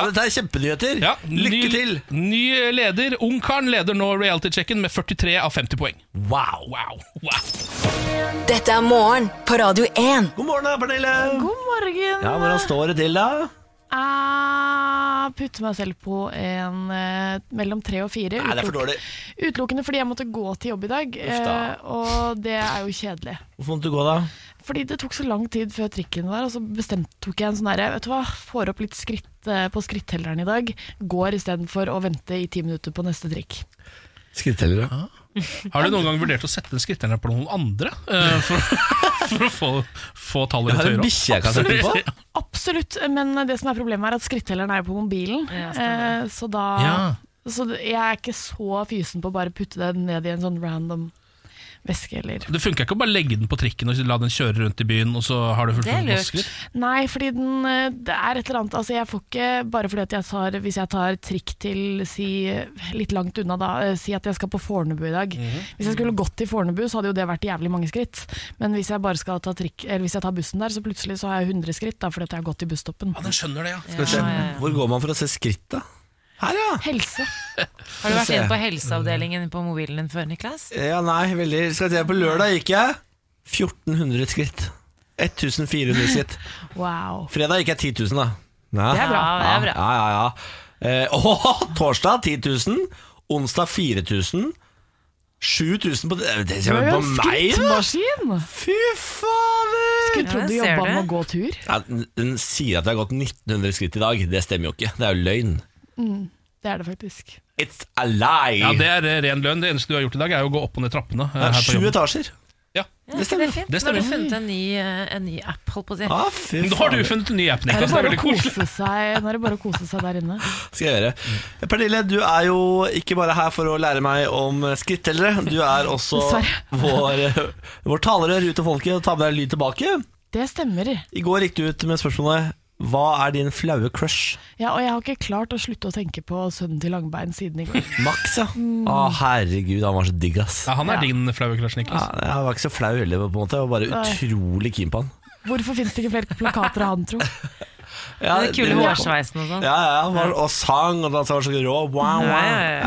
Speaker 1: men dette er kjempenyheter.
Speaker 4: Ja,
Speaker 1: Lykke til!
Speaker 4: Ny, ny leder. Ungkaren leder nå reality-checken med 43 av 50 poeng.
Speaker 1: Wow.
Speaker 4: Wow, wow.
Speaker 5: Dette er morgen på Radio 1.
Speaker 1: God morgen da, Pernille!
Speaker 13: God morgen.
Speaker 1: Ja, hvordan står det til da?
Speaker 13: Jeg putter Ah, meg selv på en eh, mellom tre og fire.
Speaker 1: Nei, det er for
Speaker 13: utelukk-
Speaker 1: dårlig.
Speaker 13: Utelukkende fordi jeg måtte gå til jobb i dag,
Speaker 1: Uff da.
Speaker 13: eh, og det er jo kjedelig.
Speaker 1: Hvorfor måtte du gå da?
Speaker 13: Fordi det tok så lang tid før trikken var, og så bestemte tok jeg en sånn herre Vet du hva, får opp litt skritt eh, på skrittelleren i dag. Går istedenfor å vente i ti minutter på neste trikk.
Speaker 1: Skrittellere.
Speaker 13: Ah.
Speaker 4: Har du noen gang vurdert å sette skritterne på noen andre eh, for, for å få, få tallet
Speaker 1: Jeg har
Speaker 4: litt
Speaker 1: en
Speaker 4: høyere?
Speaker 1: bikkje jeg kan sette den på.
Speaker 4: Absolutt.
Speaker 13: Absolutt, men det som er problemet er at skrittelleren er jo på mobilen. eh, så da
Speaker 4: Ja.
Speaker 13: Ah, Så det- jeg er ikke så fysen på å bare putte det ned i en sånn random veske eller
Speaker 4: Det funker ikke å bare legge den på trikken og la den kjøre rundt i byen, og så har du fullt
Speaker 13: Det er
Speaker 4: masse
Speaker 13: lurt.
Speaker 4: skritt?
Speaker 13: Nei, fordi den, eh, det er et eller annet Altså jeg får ikke, bare fordi at jeg tar Hvis jeg tar trikk til si, Litt langt unna da, eh, si at jeg skal på Fornebu i dag Hvis jeg skulle gått til Fornebu Så hadde jo det vært jævlig mange skritt Men hvis jeg bare skal ta trikk, eller hvis jeg tar bussen der Så plutselig så har jeg 100 skritt da, fordi at jeg har gått til busstoppen
Speaker 4: Ja, den skjønner det, ja
Speaker 1: Skal vi se. Hvor går man for å se skritt da? Her ja!
Speaker 13: Helse
Speaker 3: Har du vært inne på helseavdelingen på mobilen din før, Niklas?
Speaker 1: Ja, nei, veldig. Skal vi se, på lørdag gikk jeg 1400 skritt. 1400 skritt.
Speaker 13: Wow
Speaker 1: Fredag gikk jeg 10 000, da. Ja.
Speaker 13: Det er bra.
Speaker 1: Ja,
Speaker 13: Ja, det er bra.
Speaker 1: Ja, ja, ja. Eh, åh, torsdag 10 000, onsdag 4000, 7000 på eh, Det, det kommer på meg, da!
Speaker 13: Skrittmaskin
Speaker 1: Fy fader
Speaker 13: Skulle trodd du
Speaker 1: Ja, ser
Speaker 13: jobbet
Speaker 1: du.
Speaker 13: med å gå tur
Speaker 1: Ja, den- den sier at jeg har gått 1900 skritt i dag. Det stemmer jo ikke. Det er jo løgn.
Speaker 13: mm, Det er det faktisk
Speaker 1: It's a lie!
Speaker 4: Ja, Det er eh, ren lønn. Det eneste du har gjort i dag, er jo å gå opp og ned trappene. eh,
Speaker 1: Det er
Speaker 4: her på
Speaker 1: sju
Speaker 4: jobben.
Speaker 1: etasjer.
Speaker 3: Ja, det stemmer. Det
Speaker 4: Det
Speaker 3: Nå
Speaker 4: stemmer.
Speaker 3: har du funnet en ny, eh, en ny app, holdt på å si.
Speaker 1: Ah, fy
Speaker 4: Nå har du
Speaker 1: fader.
Speaker 4: funnet en ny app,
Speaker 13: Nå er det
Speaker 4: Niklas. Det er
Speaker 13: bare å
Speaker 4: veldig koselig.
Speaker 13: kose seg, nå er det bare å kose seg der inne
Speaker 1: skal jeg gjøre. Pernille, du er jo ikke bare her for å lære meg om skrittellere. Du er også vår, vår talerør ut til folket og tar med deg lyd tilbake.
Speaker 13: Det stemmer
Speaker 1: I går gikk du ut med spørsmålet Hva er din flaue crush?
Speaker 13: Ja, og jeg har ikke klart å slutte å tenke på sønnen til Langbein siden i går.
Speaker 1: Max, ja.
Speaker 13: Mm.
Speaker 1: Å, herregud, han var så digg, ass.
Speaker 4: Ja, han er
Speaker 13: Ja.
Speaker 4: din flaue crush, Niklas.
Speaker 1: Ja, jeg var ikke så flau heller, på en måte. Jeg var bare
Speaker 13: Nei.
Speaker 1: utrolig keen på han.
Speaker 13: Hvorfor finnes det ikke flere plakater av han, tro?
Speaker 1: Ja,
Speaker 3: Den kule
Speaker 1: det-
Speaker 3: hårsveisen og sånn.
Speaker 1: Ja, ja, han var, og sang, og dansa var så rå. Wow, wow.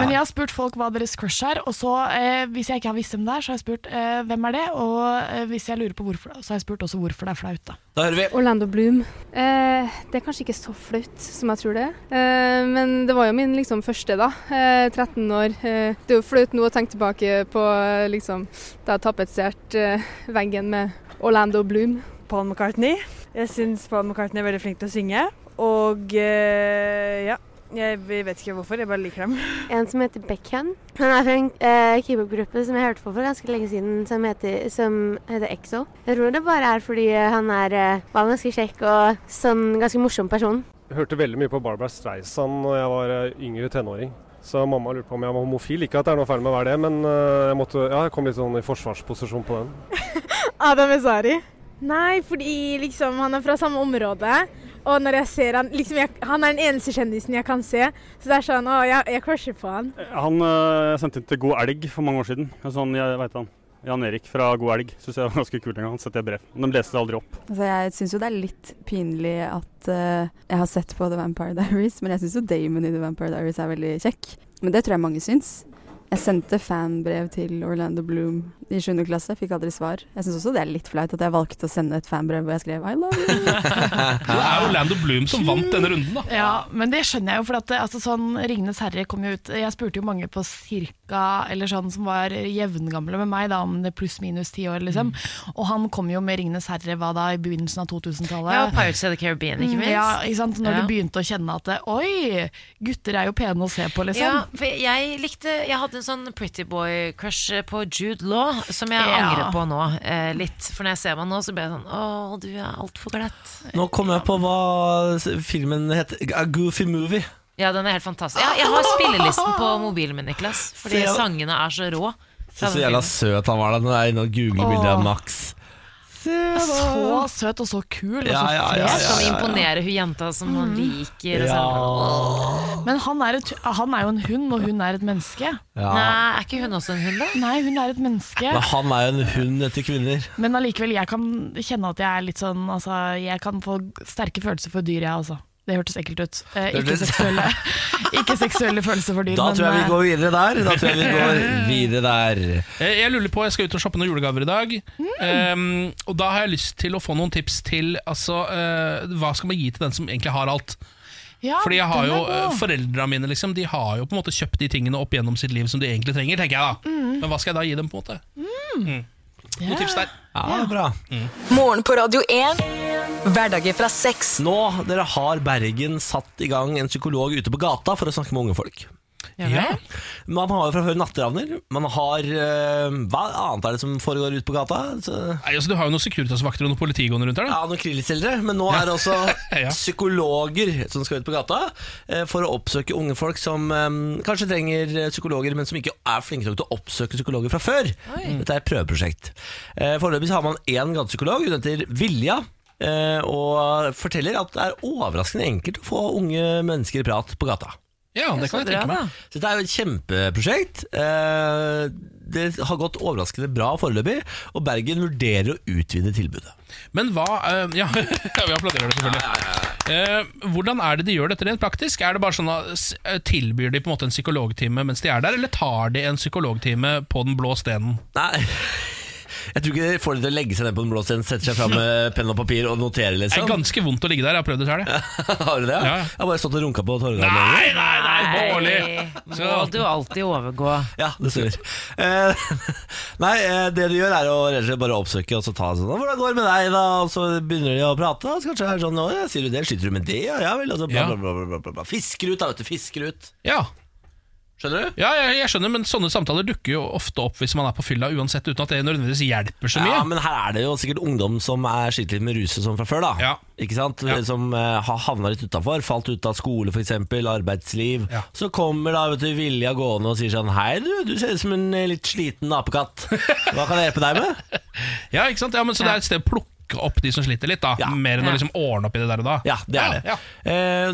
Speaker 13: Men jeg har spurt folk hva deres crush er, og så, eh, hvis jeg ikke har visst hvem det er, så har jeg spurt eh, hvem er det, og eh, hvis jeg lurer på hvorfor, så har jeg spurt også hvorfor det er flaut, da.
Speaker 1: Da hører vi.
Speaker 12: Orlando Bloom. Eh, det er kanskje ikke så flaut som jeg tror det. er. Eh, men det var jo min liksom, første, da. Eh, 13 år. Eh, det er jo flaut nå å tenke tilbake på eh, liksom, da jeg tapetserte eh, veggen med Orlando Bloom.
Speaker 14: Paul McCartney. Jeg syns Paul McCartney er veldig flink til å synge. Og eh, ja, jeg vet ikke hvorfor, jeg bare liker dem.
Speaker 15: En som heter Beckham. Han er fra en eh, keepergruppe som jeg hørte på for ganske lenge siden, som heter, som heter EXO. Jeg tror det bare er fordi eh, han er eh, var en ganske kjekk og sånn ganske morsom person.
Speaker 16: Jeg hørte veldig mye på Barbara Streisand når jeg var eh, yngre tenåring. Så mamma lurte på om jeg var homofil. Ikke at det er noe feil med å være det, men eh, jeg, måtte, ja, jeg kom litt sånn i forsvarsposisjon på den.
Speaker 17: Adam Ezari? Nei, fordi liksom han er fra samme område. Og når jeg ser han liksom jeg, Han er den eneste kjendisen jeg kan se. Så det er sånn Å, jeg, jeg crusher på han.
Speaker 18: Han øh, sendte inn til God elg for mange år siden. En Sånn, jeg vet han. Jan Erik fra God elg syns jeg var ganske kult en gang. Han sendte et brev. Men de leste det aldri opp.
Speaker 19: Altså, jeg syns jo det er litt pinlig at eh, jeg har sett på The Vampire Diaries, men jeg syns jo Damon i The Vampire Diaries er veldig kjekk. Men det tror jeg mange syns. Jeg sendte fanbrev til Orlando Bloom i 7. klasse, fikk aldri svar. Jeg syns også det er litt flaut at jeg valgte å sende et fanbrev hvor jeg skrev I love you.
Speaker 4: Det er Orlando Bloom som vant denne runden, da.
Speaker 13: Ja, men det skjønner jeg jo, for at eh, altså, sånn Ringenes herre kom jo ut Jeg spurte jo mange på cirka, eller sånn som var jevngamle med meg, da, om det pluss-minus ti år, liksom. Og han kom jo med Ringenes herre hva da, i begynnelsen av 2000-tallet.
Speaker 3: Ja, og Pirates of the Caribbean, ikke
Speaker 13: Mm,
Speaker 3: minst.
Speaker 13: Ja, ikke sant? Når
Speaker 3: Ja.
Speaker 13: du begynte å kjenne at Oi, gutter er jo pene å se på, liksom.
Speaker 3: Ja, for jeg likte Jeg hadde en sånn pretty boy-crush på Jude Law, som jeg
Speaker 13: Ja.
Speaker 3: angrer på nå. Eh, litt. For når jeg ser meg nå, så blir jeg sånn Å, du er altfor glatt.
Speaker 1: Nå kom jeg på hva filmen heter. A Goofy Movie.
Speaker 3: Ja, den er helt fantastisk. Ja, jeg har spillelisten på mobilen min, Niklas. Fordi
Speaker 1: Se-
Speaker 3: sangene er så rå.
Speaker 1: Så, så jævla søt han var da. Nå er jeg inne og googler bildet av Max.
Speaker 13: Så søt og så kul og så
Speaker 1: Ja, ja, ja,
Speaker 13: fet.
Speaker 1: ja,
Speaker 3: Skal vi imponere hun jenta som han liker? Og sånn.
Speaker 13: Men han er, et, han er jo en hund, og hun er et menneske.
Speaker 1: Ja.
Speaker 3: Nei, er ikke hun også en hund, da?
Speaker 13: Nei, hun er et menneske.
Speaker 1: Men han er jo en hund etter kvinner.
Speaker 13: Men allikevel, jeg kan kjenne at jeg er litt sånn altså, Jeg kan få sterke følelser for dyr, jeg, altså. Det hørtes ekkelt ut. Eh,
Speaker 1: Det
Speaker 13: ikke,
Speaker 1: hørtes-
Speaker 13: seksuelle, ikke seksuelle følelser for dyr,
Speaker 1: Da tror jeg
Speaker 13: eh,
Speaker 1: vi går videre der. Da tror jeg vi går videre der.
Speaker 4: Eh, Jeg lurer på, jeg skal ut og shoppe noen julegaver i dag.
Speaker 13: Mm.
Speaker 4: Ehm, og da har jeg lyst til å få noen tips til altså, eh, hva skal man gi til den som egentlig har alt.
Speaker 13: Ja,
Speaker 4: Fordi jeg har
Speaker 13: den er
Speaker 4: jo, eh,
Speaker 13: god.
Speaker 4: Foreldra mine liksom, de har jo på en måte kjøpt de tingene opp gjennom sitt liv som de egentlig trenger. tenker jeg da
Speaker 5: Mm.
Speaker 4: Men hva skal jeg da gi dem? på en måte? Mm. Noen tips der.
Speaker 1: Ja, bra.
Speaker 5: Morgen på Radio 1. Hverdager fra seks.
Speaker 1: Nå dere har Bergen satt i gang en psykolog ute på gata for å snakke med unge folk.
Speaker 5: vel.
Speaker 1: Man har jo fra før natteravner. Man har eh, Hva annet er det som foregår ute på gata? Så,
Speaker 4: Nei, altså, du har jo noen Securitas-vakter og noen politigående rundt her. da
Speaker 1: ja, noen krillselgere. Men nå er det også psykologer som skal ut på gata eh, for å oppsøke unge folk som eh, kanskje trenger eh, psykologer, men som ikke er flinke nok til å oppsøke psykologer fra før.
Speaker 20: Oi.
Speaker 1: Dette er et prøveprosjekt. Eh, Foreløpig så har man én gatepsykolog. Hun heter Vilja. eh, Og forteller at det er overraskende enkelt å få unge mennesker i prat på gata.
Speaker 4: Ja, det kan jeg tenke meg.
Speaker 1: Så dette er jo et kjempeprosjekt. Eh, Det har gått overraskende bra foreløpig, og Bergen vurderer å utvide tilbudet.
Speaker 4: Men hva eh, ja, ja, vi applauderer det selvfølgelig. Eh, hvordan er det de gjør dette rent praktisk? Er det bare sånn at s- eh, Tilbyr de på en måte en psykologtime mens de er der, eller tar de en psykologtime på den blå stenen?
Speaker 1: Nei Jeg tror ikke det får det til å legge seg ned på den blå scenen, sette seg fram med penn og papir og notere,
Speaker 4: Det er
Speaker 1: liksom.
Speaker 4: ganske vondt å ligge der, jeg har prøvd det sjøl.
Speaker 1: Har du det?
Speaker 4: Ja.
Speaker 1: Jeg har bare stått og runka på Torgallmenn.
Speaker 4: Nei, nei, nei,
Speaker 3: Nei,
Speaker 4: Bårli!
Speaker 3: må du alltid overgå.
Speaker 1: Ja, det stemmer. Eh, nei, eh, det de gjør er å rett og slett bare oppsøke og så ta sånn 'Hvordan går det med deg?' da? Og så begynner de å prate. Og så kanskje er det sånn 'Å ja, sier du det? Sliter du med det?' Ja, ja vel. Og så bla,
Speaker 4: Ja.
Speaker 1: bla, bla, bla, bla, bla. Fisker ut, da, vet du. Fisker ut.
Speaker 4: Ja.
Speaker 1: Skjønner du?
Speaker 4: Ja, jeg, jeg skjønner, men Sånne samtaler dukker jo ofte opp hvis man er på fylla, uansett, uten at det nødvendigvis hjelper så mye.
Speaker 1: Ja, men her er det jo sikkert ungdom som er skikkelig med ruset som fra før, da. Ikke sant? Som eh, har havna litt utafor. Falt ut av skole, f.eks. Arbeidsliv. Så kommer da vet du, Vilja gående og sier sånn Hei, du, du ser ut som en eh, litt sliten apekatt. Hva kan jeg hjelpe deg med?
Speaker 4: Ja, ikke sant? Ja, men Så det er et sted å plukke plukke opp de som sliter litt, da. Mer enn å
Speaker 1: Ja.
Speaker 4: liksom ordne opp i det der og da.
Speaker 1: Ja, det er det. Eh,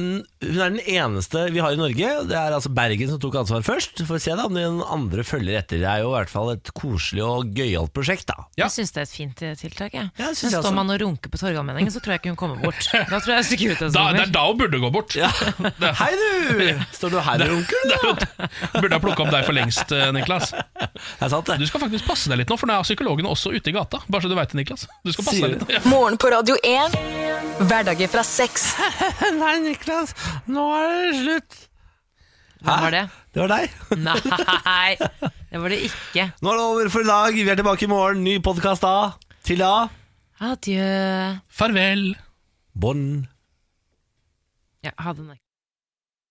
Speaker 1: hun er den eneste vi har i Norge. Det er altså Bergen som tok ansvar først. Får vi se da om de andre følger etter. Det er jo i hvert fall et koselig og gøyalt prosjekt, da.
Speaker 3: Jeg syns det er et fint eh, tiltak. Jeg. Men
Speaker 1: synes jeg
Speaker 3: står
Speaker 1: også.
Speaker 3: man og runker på Torgallmenningen, så tror jeg ikke hun kommer bort. Da tror jeg stikker ut en
Speaker 4: Da, det
Speaker 3: sommer.
Speaker 4: er da hun burde gå bort.
Speaker 1: Hei, du! Står du her, onkel?
Speaker 4: Burde ha plukka opp deg for lengst, eh, Niklas.
Speaker 1: Du
Speaker 4: skal faktisk passe deg litt nå, for nå er psykologene også ute i gata. Bare så du vet det, Niklas. Du skal passe
Speaker 1: Sier
Speaker 4: deg litt. Ja.
Speaker 5: Morgen på Radio 1. Hverdager fra seks.
Speaker 1: Nei, Niklas, nå er det slutt.
Speaker 3: Hvem var det?
Speaker 1: Det var deg.
Speaker 3: Nei, det var det ikke.
Speaker 1: Nå er det over for i dag. Vi er tilbake i morgen. Ny podkast da. Til da
Speaker 3: Adjø.
Speaker 4: Farvel.
Speaker 1: Bon.
Speaker 3: Ja, ha det. Nick.